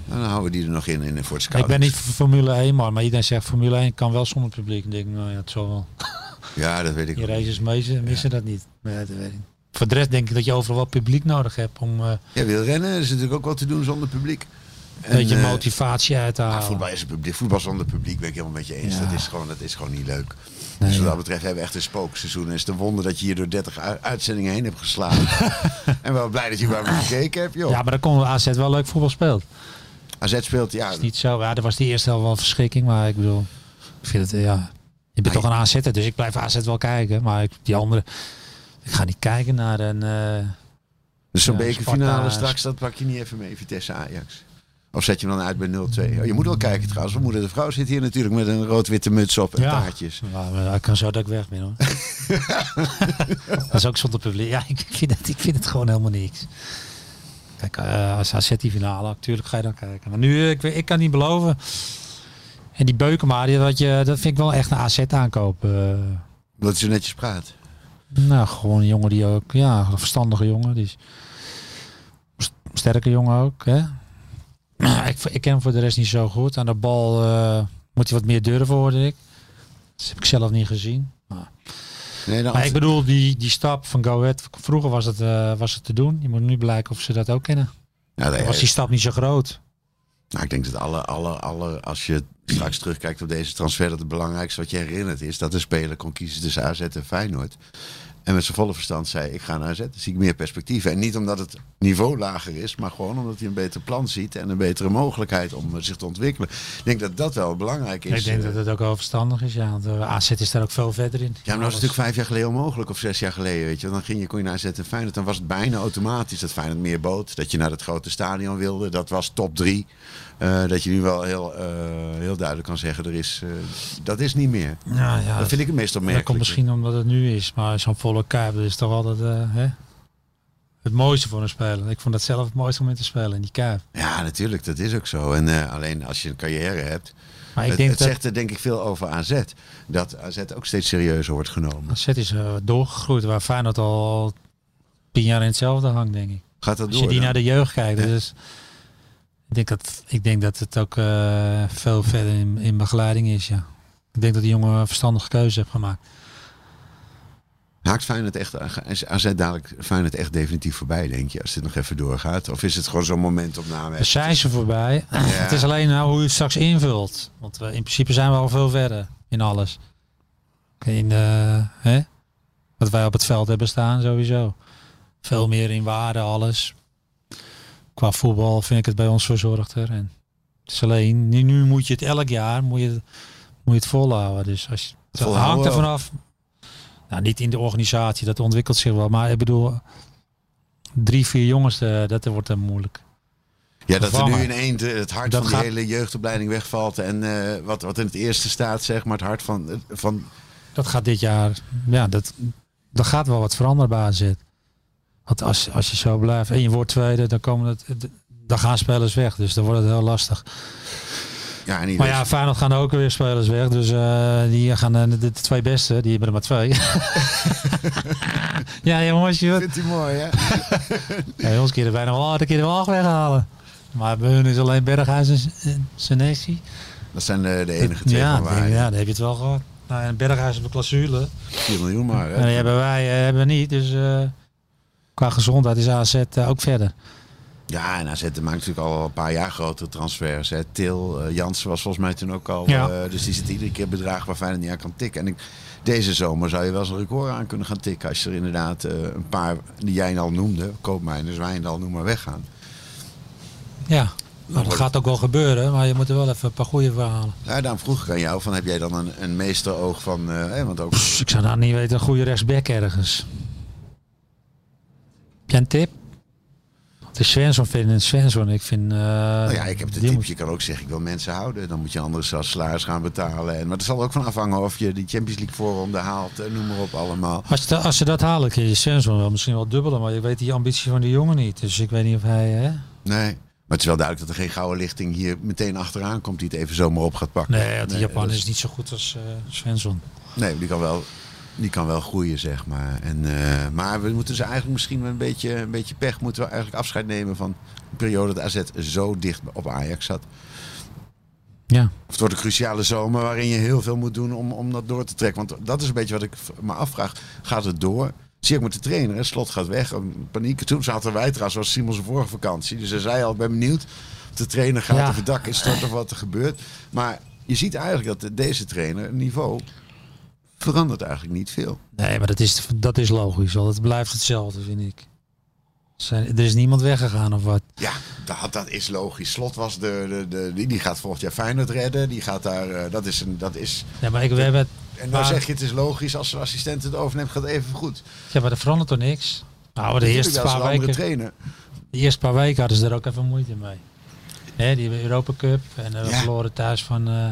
E: En Nou, dan houden we die er nog in, in de Fort
F: Ik ben niet voor Formule 1, man, maar iedereen zegt Formule 1 kan wel zonder publiek. Ik denk, nou ja, het zal wel.
E: Ja, dat weet ik
F: Die
E: ook.
F: races missen, missen dat niet. Voor de rest denk ik dat je overal wat publiek nodig hebt om eh,
E: Jij wil rennen, er is natuurlijk ook wat te doen zonder publiek.
F: een beetje
E: eh,
F: motivatie uit te
E: Ah,
F: halen.
E: voetbal, is een publiek, voetbal zonder publiek ben ik helemaal met je eens.
F: Ja.
E: Dat, is gewoon, dat is gewoon niet leuk. dus wat dat betreft hebben we echt een spookseizoen. En is het een wonder dat je hier door 30 u- uitzendingen heen hebt geslagen. en wel blij dat je waar me gekeken hebt, joh.
F: ja, maar dan kon AZ wel leuk voetbal speelt.
E: AZ speelt, ja.
F: is niet zo. Ja, dat was de eerste helft wel een verschrikking, maar ik bedoel, ik vind het, eh, ja. Je bent toch een aanzetter, dus ik blijf AZ wel kijken. Maar ik, die andere, ik ga niet kijken naar een... eh,
E: Dus zo'n
F: Ja,
E: bekerfinale
F: Sparta-
E: straks, dat pak je niet even mee, Vitesse Ajax. Of zet je hem dan uit bij 0-2. Oh, je moet wel kijken trouwens, mijn moeder de vrouw zit hier natuurlijk met een rood-witte muts op en
F: Ja.
E: eh, taartjes.
F: Ja, maar ik kan zo dat ik weg ben hoor. dat is ook zonder publiek. Ja, ik vind het, ik vind het gewoon helemaal niks. Kijk, eh, als AZ die finale, natuurlijk ga je dan kijken. Maar nu, eh, ik, weet- ik kan niet beloven. En die Beukema, die, dat, je, dat vind ik wel echt een AZ aankoop. eh.
E: Omdat ze netjes praat.
F: nou, gewoon een jongen die ook, ja, een verstandige jongen. Die is sterke jongen ook, hè. Ja, ik, ik ken hem voor de rest niet zo goed. Aan de bal eh, moet hij wat meer durven, hoorde ik. Dat heb ik zelf niet gezien. Maar,
E: Nee, dan
F: maar ik bedoel, die, die stap van Go Ahead, vroeger was het, eh, was het te doen. Je moet nu blijken of ze dat ook kennen.
E: Ja, nee, eh,
F: Was die stap niet zo groot?
E: nou, ik denk dat alle, alle, alle, als je straks terugkijkt op deze transfer, dat het belangrijkste wat je herinnert is dat de speler kon kiezen tussen AZ en Feyenoord. En met zijn volle verstand zei, ik ga naar AZ, dan zie ik meer perspectieven. En niet omdat het niveau lager is, maar gewoon omdat hij een beter plan ziet en een betere mogelijkheid om eh, zich te ontwikkelen. Ik denk dat dat wel belangrijk is.
F: ik denk
E: eh,
F: dat het ook wel verstandig is. Ja, want eh, AZ is daar ook veel verder in.
E: Ja, maar dat was
F: Alles.
E: natuurlijk vijf jaar geleden onmogelijk of zes jaar geleden, weet je. Want Dan ging je, kon je naar AZ en Feyenoord. Dan was het bijna automatisch dat Feyenoord meer bood. Dat je naar het grote stadion wilde. Dat was top drie. Eh, dat je nu wel heel, eh, heel duidelijk kan zeggen, er is, eh, dat is niet meer.
F: Ja, ja,
E: dat vind ik het meest
F: Dat
E: opmerkelijk.
F: komt misschien omdat het nu is, maar zo'n volle kuip dat is toch altijd eh, hè? het mooiste voor een speler. Ik vond dat zelf het mooiste om in te spelen, in die kuip.
E: Ja, natuurlijk, dat is ook zo. En eh, alleen als je een carrière hebt.
F: Maar ik
E: het
F: denk
E: het
F: dat
E: zegt er denk ik veel over AZ. Dat AZ ook steeds serieuzer wordt genomen.
F: AZ is eh, doorgegroeid, waar Feyenoord al tien jaar in hetzelfde hangt, denk ik.
E: Gaat dat
F: Als
E: door?
F: je die
E: dan?
F: naar de jeugd kijkt, dus ik denk dat, ik denk dat het ook eh, veel verder in, in begeleiding is, ja. Ik denk dat die jongen een verstandige keuze heeft gemaakt.
E: Haakt Feyenoord echt, is AZ dadelijk Feyenoord echt definitief voorbij, denk je, als dit nog even doorgaat? Of is het gewoon zo'n momentopname?
F: Er zijn ze voorbij. Het is alleen nou hoe je het straks invult. Want we, in principe zijn we al veel verder in alles. In eh, hè? wat wij op het veld hebben staan sowieso. Veel meer in waarde alles. Qua voetbal vind ik het bij ons verzorgder. En het is alleen, nu, nu moet je het elk jaar moet je, het- moet je het volhouden. Dus als je, het
E: volhouden
F: hangt er
E: ook.
F: vanaf. Nou, niet in de organisatie, dat ontwikkelt zich wel. Maar ik bedoel, drie, vier jongens, eh, dat wordt dan moeilijk.
E: Ja, dat er nu
F: vervangen.
E: in één de- het hart
F: Dat
E: van de
F: gaat-
E: hele jeugdopleiding wegvalt. En eh, wat, wat in het eerste staat, zeg maar, het hart van. eh, van
F: Dat gaat dit jaar, ja, dat, dat gaat wel wat veranderen bij AZ. Want als, als je zo blijft en je wordt tweede, dan, komen het, dan gaan spelers weg. Dus dan wordt het heel lastig.
E: ja, en
F: Maar ja, Feyenoord gaan er ook weer spelers weg. Dus eh, die gaan eh, de, de twee beste, die hebben er maar twee. ja, jongens, je,
E: vindt hij mooi, hè?
F: ja, ons keren bijna wel een keer de walg weghalen. Maar bij hun is alleen Berghuis en S- en Senesi.
E: Dat zijn eh, de, de enige twee
F: Ja,
E: van
F: ik denk,
E: waar.
F: ja, dan heb je het wel gehad. Nou, en Berghuis op de clausule.
E: 4 miljoen maar.
F: En
E: Hè?
F: die hebben wij eh, hebben we niet. Dus eh, qua gezondheid is AZ eh, ook verder.
E: Ja, en AZ maakt natuurlijk al een paar jaar grotere transfers. Hè. Til, eh, Jansen was volgens mij toen ook al.
F: Ja.
E: eh, dus die zit iedere keer bedragen waar Feyenoord niet aan kan tikken. En ik, deze zomer zou je wel eens een record aan kunnen gaan tikken. Als je er inderdaad eh, een paar die jij al noemde, Koopmijners, Wijndal, noem maar weggaan.
F: Ja, maar dat gaat ook wel gebeuren. Maar je moet er wel even een paar goede verhalen.
E: Ja, daarom vroeg ik aan jou, van, heb jij dan een, een meesteroog van... eh, hè, want ook
F: Dus ik zou nou niet weten, een goede rechtsback ergens. Heb jij een tip? De Svensson vind ik Svensson. Ik vind... eh,
E: Nou ja, ik heb het
F: die
E: tip.
F: moet-
E: Je kan ook zeggen, ik wil mensen houden. Dan moet je anders als salaris gaan betalen. En, maar het zal er ook van afhangen of je die Champions League voorronde haalt. En noem maar op allemaal.
F: Als, je da- als ze dat halen, kun je Svensson wel misschien wel dubbelen. Maar je weet die ambitie van die jongen niet. Dus ik weet niet of hij... Hè?
E: Nee. Maar het is wel duidelijk dat er geen gouden lichting hier meteen achteraan komt. Die het even zomaar op gaat pakken.
F: Nee, want die Japan
E: dat
F: is niet zo goed als eh Svensson.
E: Nee, die kan wel... Die kan wel groeien, zeg maar. En, eh, maar we moeten ze eigenlijk misschien met een beetje, een beetje pech... moeten we eigenlijk afscheid nemen van de periode dat AZ zo dicht op Ajax zat.
F: Ja.
E: Of het wordt een cruciale zomer waarin je heel veel moet doen om, om dat door te trekken. Want dat is een beetje wat ik v- me afvraag. Gaat het door? Zie ik met de trainer, hè? slot gaat weg. Een Paniek. Toen zaten wij trouwens, was Simons vorige vakantie. Dus hij zei al, ik ben benieuwd of de trainer gaat
F: Ja.
E: of het dak is stort of wat er gebeurt. Maar je ziet eigenlijk dat de- deze trainer, het niveau, verandert eigenlijk niet veel.
F: Nee, maar dat is, dat is logisch. Want het blijft hetzelfde, vind ik. Zijn, er is niemand weggegaan of wat.
E: Ja, dat, dat is logisch. Slot was de, de, de, die, die gaat volgend jaar Feyenoord redden. Die gaat daar, eh, dat is een, dat is...
F: Ja, maar ik, we hebben...
E: En dan
F: maar,
E: zeg je, het is logisch als een assistent het overneemt, gaat het even goed.
F: Ja, maar er verandert toch niks? Nou, de eerste,
E: Natuurlijk, dat is
F: paar
E: een andere
F: weken,
E: trainer.
F: de eerste paar weken hadden ze er ook even moeite mee. Hè, die Europa Cup en eh, we
E: Ja.
F: verloren thuis van... eh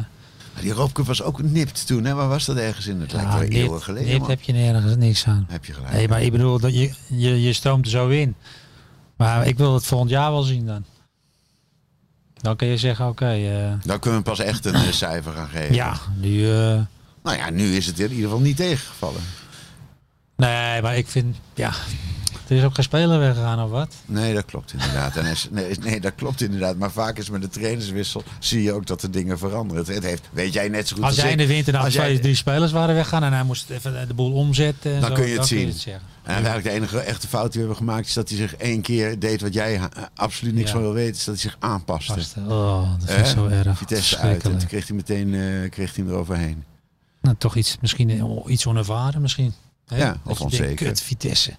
E: Die Europa Cup was ook nipt toen. Hè? Waar was dat ergens in? Het lijkt wel
F: nou, dit-
E: eeuwen geleden.
F: dit
E: man.
F: heb je nergens niks aan.
E: Heb je gelijk.
F: Nee, maar ik bedoel, dat je, je, je stroomt er zo in. Maar ik wil het volgend jaar wel zien dan. Dan kun je zeggen, oké... eh,
E: Dan kunnen we pas echt een eh, cijfer gaan geven.
F: ja, nu... eh,
E: Nou ja, nu is het in ieder geval niet tegengevallen.
F: Nee, maar ik vind, ja, Er is ook geen speler weggegaan of wat?
E: Nee, dat klopt inderdaad. En is, nee, is- nee, dat klopt inderdaad. Maar vaak is met de trainerswissel zie je ook dat de dingen veranderen. Het, het heeft, weet jij net zo goed
F: Als jij
E: ik,
F: in de winter nou
E: als jij-
F: twee, drie spelers waren weggaan en hij moest even de boel omzetten. En
E: Dan
F: zo,
E: kun je het
F: dan
E: zien.
F: Kun je het zeggen.
E: En eigenlijk de enige echte fout die we hebben gemaakt is dat hij zich één keer deed wat jij eh, absoluut niks
F: Ja.
E: van wil weten. Is dat hij zich aanpaste.
F: Vast. Oh, dat vind ik
E: Hè?
F: zo erg.
E: Vitesse uit. En
F: Verschrikkelijk.
E: toen kreeg hij meteen eh, kreeg hij hem eroverheen.
F: Nou, toch iets, misschien oh, iets onervaren misschien. Hè?
E: Ja,
F: Dat
E: of
F: je denkt,
E: onzeker.
F: Kut, Vitesse.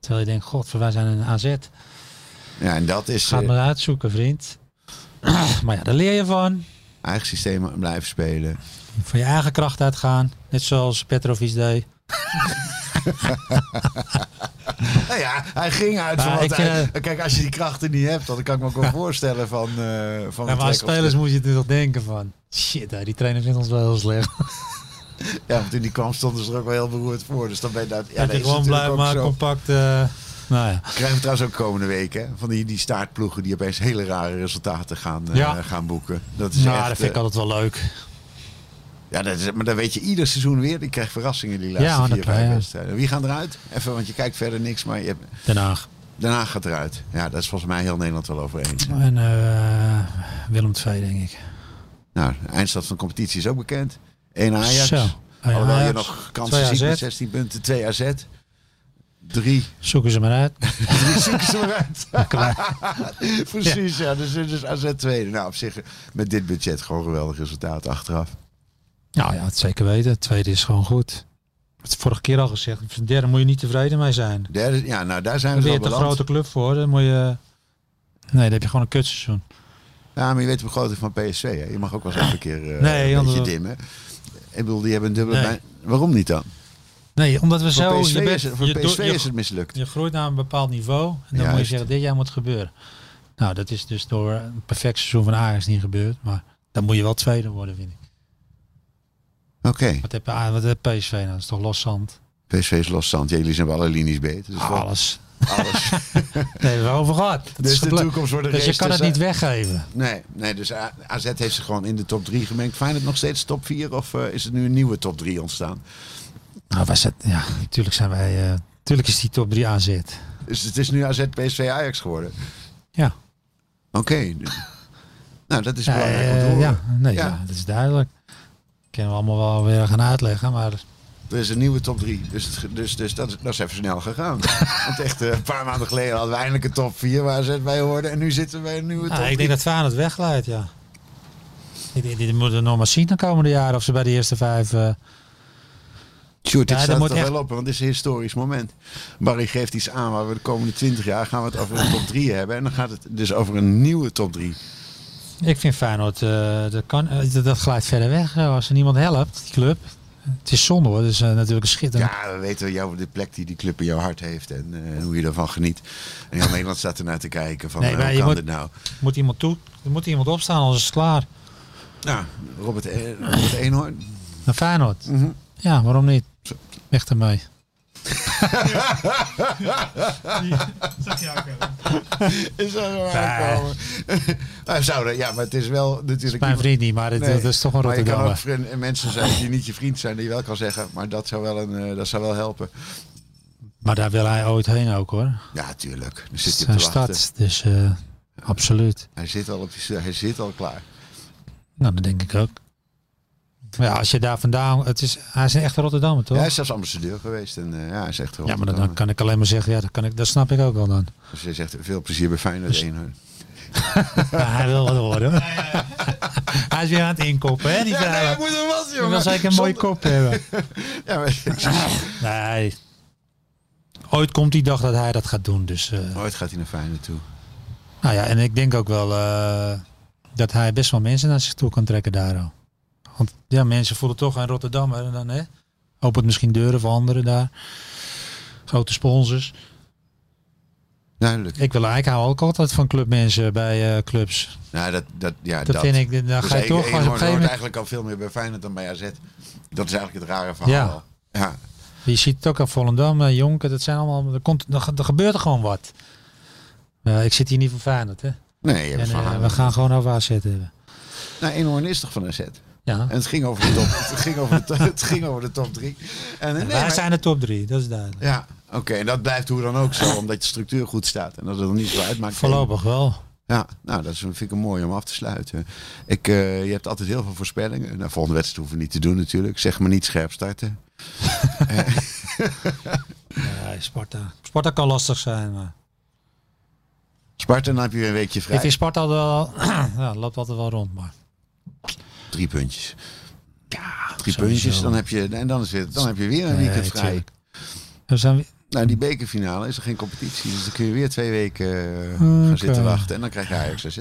F: Terwijl je denkt, god, wij zijn een AZ.
E: Ja, en dat is
F: Ga het
E: eh
F: maar uitzoeken, vriend. maar ja, daar leer je van.
E: eigen systeem blijven spelen.
F: Van je eigen kracht uitgaan. Net zoals Petrovic deed.
E: Nou ja, hij ging uit van
F: Maar
E: wat
F: ik,
E: hij-
F: eh,
E: Kijk, als je die krachten niet hebt, dan kan ik me ook wel voorstellen van... eh van
F: Ja,
E: wat
F: maar als
E: Trek op-
F: spelers moet je er toch denken van... Shit, hè, die trainer vindt ons wel heel slecht.
E: Ja, want toen die kwam stonden ze er ook wel heel beroerd voor. Dus dan ben je daar... Ja,
F: dat
E: dat
F: je
E: is
F: gewoon
E: natuurlijk
F: blij
E: ook
F: maar
E: zo.
F: compact... eh, nou ja.
E: Krijgen we trouwens ook komende week, hè? Van die, die staartploegen die opeens hele rare resultaten gaan, eh,
F: Ja.
E: gaan boeken. Dat is
F: Nou,
E: echt,
F: dat vind ik
E: eh,
F: altijd wel leuk.
E: ja, dat is, maar dat weet je ieder seizoen weer. Die krijgt verrassingen die laatste
F: Ja, dat
E: vier,
F: kan,
E: vijf
F: ja.
E: wedstrijden. Wie gaan eruit? Even, want je kijkt verder niks, maar je hebt,
F: Den Haag.
E: daarna gaat eruit. Ja, dat is volgens mij heel Nederland wel over eens.
F: En eh, Willem II, denk ik.
E: Nou, de eindstand van de competitie is ook bekend. 1 Ajax.
F: Zo. Eén
E: Alhoewel je
F: Ajax,
E: nog
F: twee
E: kansen ziet met
F: AZ.
E: 16 punten. 2 AZ. 3.
F: Zoeken ze maar uit.
E: Die zoeken ze eruit. Precies, ja. Dus, dus AZ tweede. Nou, op zich eh, met dit budget gewoon geweldig resultaat achteraf.
F: Nou ja, het zeker weten. Het tweede is gewoon goed. Het is vorige keer al gezegd. Voor de derde moet je niet tevreden mee zijn. Daar
E: Derde, ja, nou daar zijn
F: ben
E: we
F: je
E: wel
F: te een
E: beland.
F: grote club voor. Dan moet je... Nee, dan heb je gewoon een kutseizoen.
E: Ja, maar je weet de begroting van PSV. Hè? Je mag ook wel eens even een keer eh,
F: Nee,
E: een beetje
F: want-
E: dimmen. Ik bedoel, die hebben een dubbele...
F: Nee.
E: bij- Waarom niet dan?
F: Nee, omdat we zo...
E: Voor PSV,
F: je bent-
E: is, het- voor
F: je
E: PSV
F: do- je-
E: is het mislukt.
F: Je groeit naar een bepaald niveau. En dan moet je
E: Juist.
F: zeggen, dit jaar moet het gebeuren. Nou, dat is dus door een perfect seizoen van Ajax niet gebeurd. Maar dan moet je wel tweede worden, vind ik.
E: Oké,
F: Wat heb, A- wat heb PSV nou? Dat is toch loszand?
E: PSV is loszand. Jullie zijn wel alle linies beter. Dus wel-
F: Alles.
E: alles.
F: Nee, we hebben over gehad. Dat
E: Dus
F: is
E: de
F: gebleu-
E: toekomst wordt een
F: Dus je
E: race
F: kan het niet
E: tussen-
F: weggeven.
E: Nee, nee, dus A- AZ heeft zich gewoon in de top 3 gemengd. Feyenoord nog steeds top 4 of eh, is er nu een nieuwe top 3 ontstaan?
F: Nou, wij zijn, ja, natuurlijk zijn wij... eh, Tuurlijk is die top 3 AZ.
E: Dus het is nu AZ, PSV, Ajax geworden.
F: Ja.
E: Oké. Nou, dat is
F: Ja,
E: belangrijk om te
F: eh,
E: horen.
F: ja, nee,
E: Ja.
F: ja. dat is duidelijk. Kunnen we allemaal wel weer gaan uitleggen, maar
E: Er is een nieuwe top 3. Dus, het ge- dus, dus dat, is- dat is even snel gegaan. Want echt, eh, een paar maanden geleden hadden we eindelijk een top 4 waar AZ bij hoorde. En nu zitten we bij een nieuwe top
F: Ah, ik
E: 3.
F: denk dat Feyenoord wegleidt, ja. Ik denk, dit moeten we nog maar zien de komende jaren of ze bij de eerste vijf... eh,
E: Sjoerd, dit
F: Ja, dat
E: staat
F: moet
E: er
F: echt-
E: wel op, want dit is een historisch moment. Barry geeft iets aan waar we de komende 20 jaar gaan we het over een top 3 hebben. En dan gaat het dus over een nieuwe top 3.
F: ik vind Feyenoord, eh, dat, kan, eh, dat, dat glijdt verder weg eh, als er niemand helpt, die club. Het is zonde hoor, dat is eh, natuurlijk een schitterend.
E: Ja, we weten jou, de plek die die club in jouw hart heeft en eh, hoe je daarvan geniet. En heel Nederland staat ernaar te kijken van
F: Nee,
E: eh,
F: maar
E: hoe
F: je
E: kan
F: moet-
E: dit nou?
F: Moet iemand toe, er moet iemand opstaan, anders is het klaar.
E: Nou, Robert,
F: E-,
E: eh, Robert Eenhoorn.
F: Naar Feyenoord.
E: Mhm.
F: Ja, waarom niet? Weg ermee.
E: Is dat zo
F: aankomen?
E: Hij Nou, zou er- ja, maar het is wel natuurlijk...
F: Mijn vriend niet, maar het,
E: Nee,
F: dat is toch een
E: maar je kan ook
F: Rotterdammer.
E: vriend- mensen zijn die niet je vriend zijn, die je wel kan zeggen. Maar dat zou wel, een, eh, dat zou wel helpen.
F: Maar daar wil hij ooit heen ook hoor.
E: Ja, tuurlijk. Dan
F: Het
E: zit
F: is
E: hij op
F: een
E: te wachten.
F: stad, dus eh, absoluut.
E: Hij zit al, op die, hij zit al klaar.
F: Nou, dat denk ik ook. Maar Ja, als je daar vandaan... Het is, hij is een echte Rotterdammer, toch?
E: Ja,
F: Ja,
E: hij is zelfs ambassadeur geweest en eh, ja, hij zegt gewoon.
F: maar dan, dan kan ik alleen maar zeggen... Ja, dat, kan ik, dat snap ik ook al dan.
E: Dus hij zegt veel plezier bij Feyenoord Eenhoorn.
F: Ja, hij wil wat worden. hoor. hij is weer aan het inkoppen, hè? Die
E: Ja, nee,
F: ja,
E: ik moet er was, jongen.
F: wil zeker een mooie
E: Zonder-
F: kop hebben.
E: Ja, maar-
F: Nee. Ooit komt die dag dat hij dat gaat doen. Dus, eh,
E: Nooit gaat hij naar Feyenoord toe.
F: nou ja, en ik denk ook wel... eh, dat hij best wel mensen naar zich toe kan trekken daar al. Want ja, mensen voelen toch aan Rotterdammer. En dan hè, opent misschien deuren voor anderen daar. Grote sponsors.
E: Duidelijk.
F: Ik, wil, ik hou ook altijd van clubmensen bij eh, clubs.
E: Nou, dat, dat, ja,
F: Dat, vind ik, dan
E: Dus
F: ga je
E: Eenhoorn
F: toch als op een gegeven
E: hoort
F: moment...
E: eigenlijk al veel meer bij Feyenoord dan bij AZ. Dat is eigenlijk het rare verhaal.
F: Ja.
E: al. ja.
F: Je ziet het ook aan Volendam, eh, Jonker, dat zijn allemaal... Er, komt, er, ge- er gebeurt er gewoon wat. Eh, ik zit hier niet voor Feyenoord, hè.
E: Nee, je hebt
F: En,
E: het
F: eh,
E: verhaal.
F: we gaan gewoon over AZ hebben.
E: Nou, Eenhoorn is toch van AZ?
F: Ja.
E: En het ging over de top, het ging over de, to- het ging over de top drie. En, eh, nee,
F: Wij
E: maar-
F: zijn de top drie, dat is duidelijk.
E: Ja, oké. En dat blijft hoe dan ook zo, omdat je structuur goed staat. En dat het dan niet zo uitmaakt.
F: Voorlopig wel.
E: Ja, nou, dat is- vind ik een mooi om af te sluiten. Ik, eh, je hebt altijd heel veel voorspellingen. Nou, volgende wedstrijd hoeven we niet te doen natuurlijk. Zeg maar niet scherp starten.
F: Ja, Sparta. Sparta kan lastig zijn, maar
E: Sparta, dan heb je weer een weekje vrij.
F: ik vind Sparta altijd wel, ja, loopt altijd wel rond, maar
E: Drie puntjes. Ja, Drie
F: sowieso.
E: puntjes, dan heb, je, en dan, is het, dan heb je weer een
F: Nee,
E: weekend vrij.
F: tuurlijk. we zijn weer-
E: Nou, die bekerfinale is er geen competitie. Dus dan kun je weer twee weken eh, gaan
F: Oké.
E: zitten wachten. En dan krijg je Ajax AZ.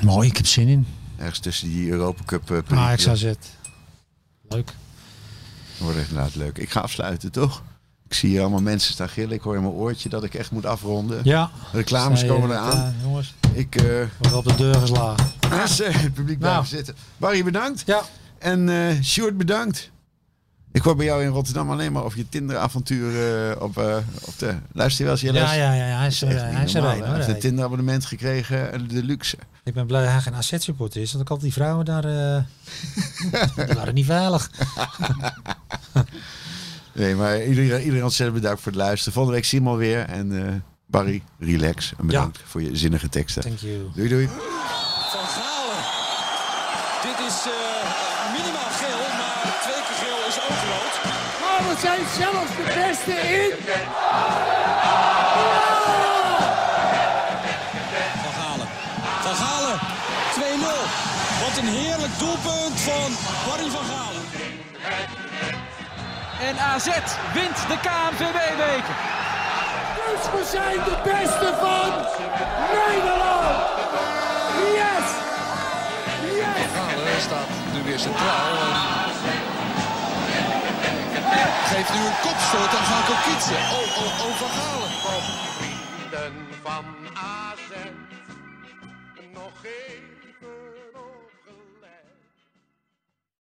F: mooi. Ik heb zin in.
E: Ergens tussen die Europa Cup. eh,
F: Ajax
E: perioden.
F: AZ. Leuk.
E: Dat wordt echt inderdaad leuk. Ik ga afsluiten, toch? Ik zie hier allemaal mensen staan gillen. Ik hoor in mijn oortje dat ik echt moet afronden.
F: Ja.
E: Reclames
F: Zij,
E: komen
F: eh,
E: eraan.
F: ja, jongens,
E: Ik... eh,
F: wordt op de deur geslagen.
E: Hassen, het publiek blijven
F: Nou.
E: zitten. Barry, bedankt.
F: Ja.
E: En eh Sjoerd, bedankt. Ik hoor bij jou in Rotterdam alleen maar over je Tinder-avontuur eh, op, eh, op de... Luister je wel eens? Jelle?
F: Ja, ja, ja, hij is,
E: Dat is
F: eh,
E: echt
F: hij
E: niet
F: is er
E: normaal,
F: een,
E: hè. Hij
F: hoor.
E: heeft een
F: Hij-
E: Tinder-abonnement gekregen en de luxe.
F: Ik ben blij dat hij geen AZ-supporter is, want ik had die vrouwen daar, eh, die waren niet veilig.
E: Nee, maar iedereen, iedereen ontzettend bedankt voor het luisteren. Volgende week zien we alweer. En eh, Barry, relax. En bedankt voor je zinnige teksten.
F: Thank you.
E: Doei, doei.
A: Van Galen. Dit is eh, minimaal geel, maar twee keer geel is ook rood.
B: Maar we zijn zelfs de beste in. Ah,
A: Van Galen. Van Galen. 2-0. Wat een heerlijk doelpunt van Barry van Galen.
C: En AZ wint de KNVB-beker.
B: Dus we zijn de beste van Nederland. Yes. Yes.
D: Galen staat nu weer centraal. En geeft nu een kopstoot aan Gaan Kitsen. Oh, oh, oh, Van Galen.
G: vrienden van AZ nog even.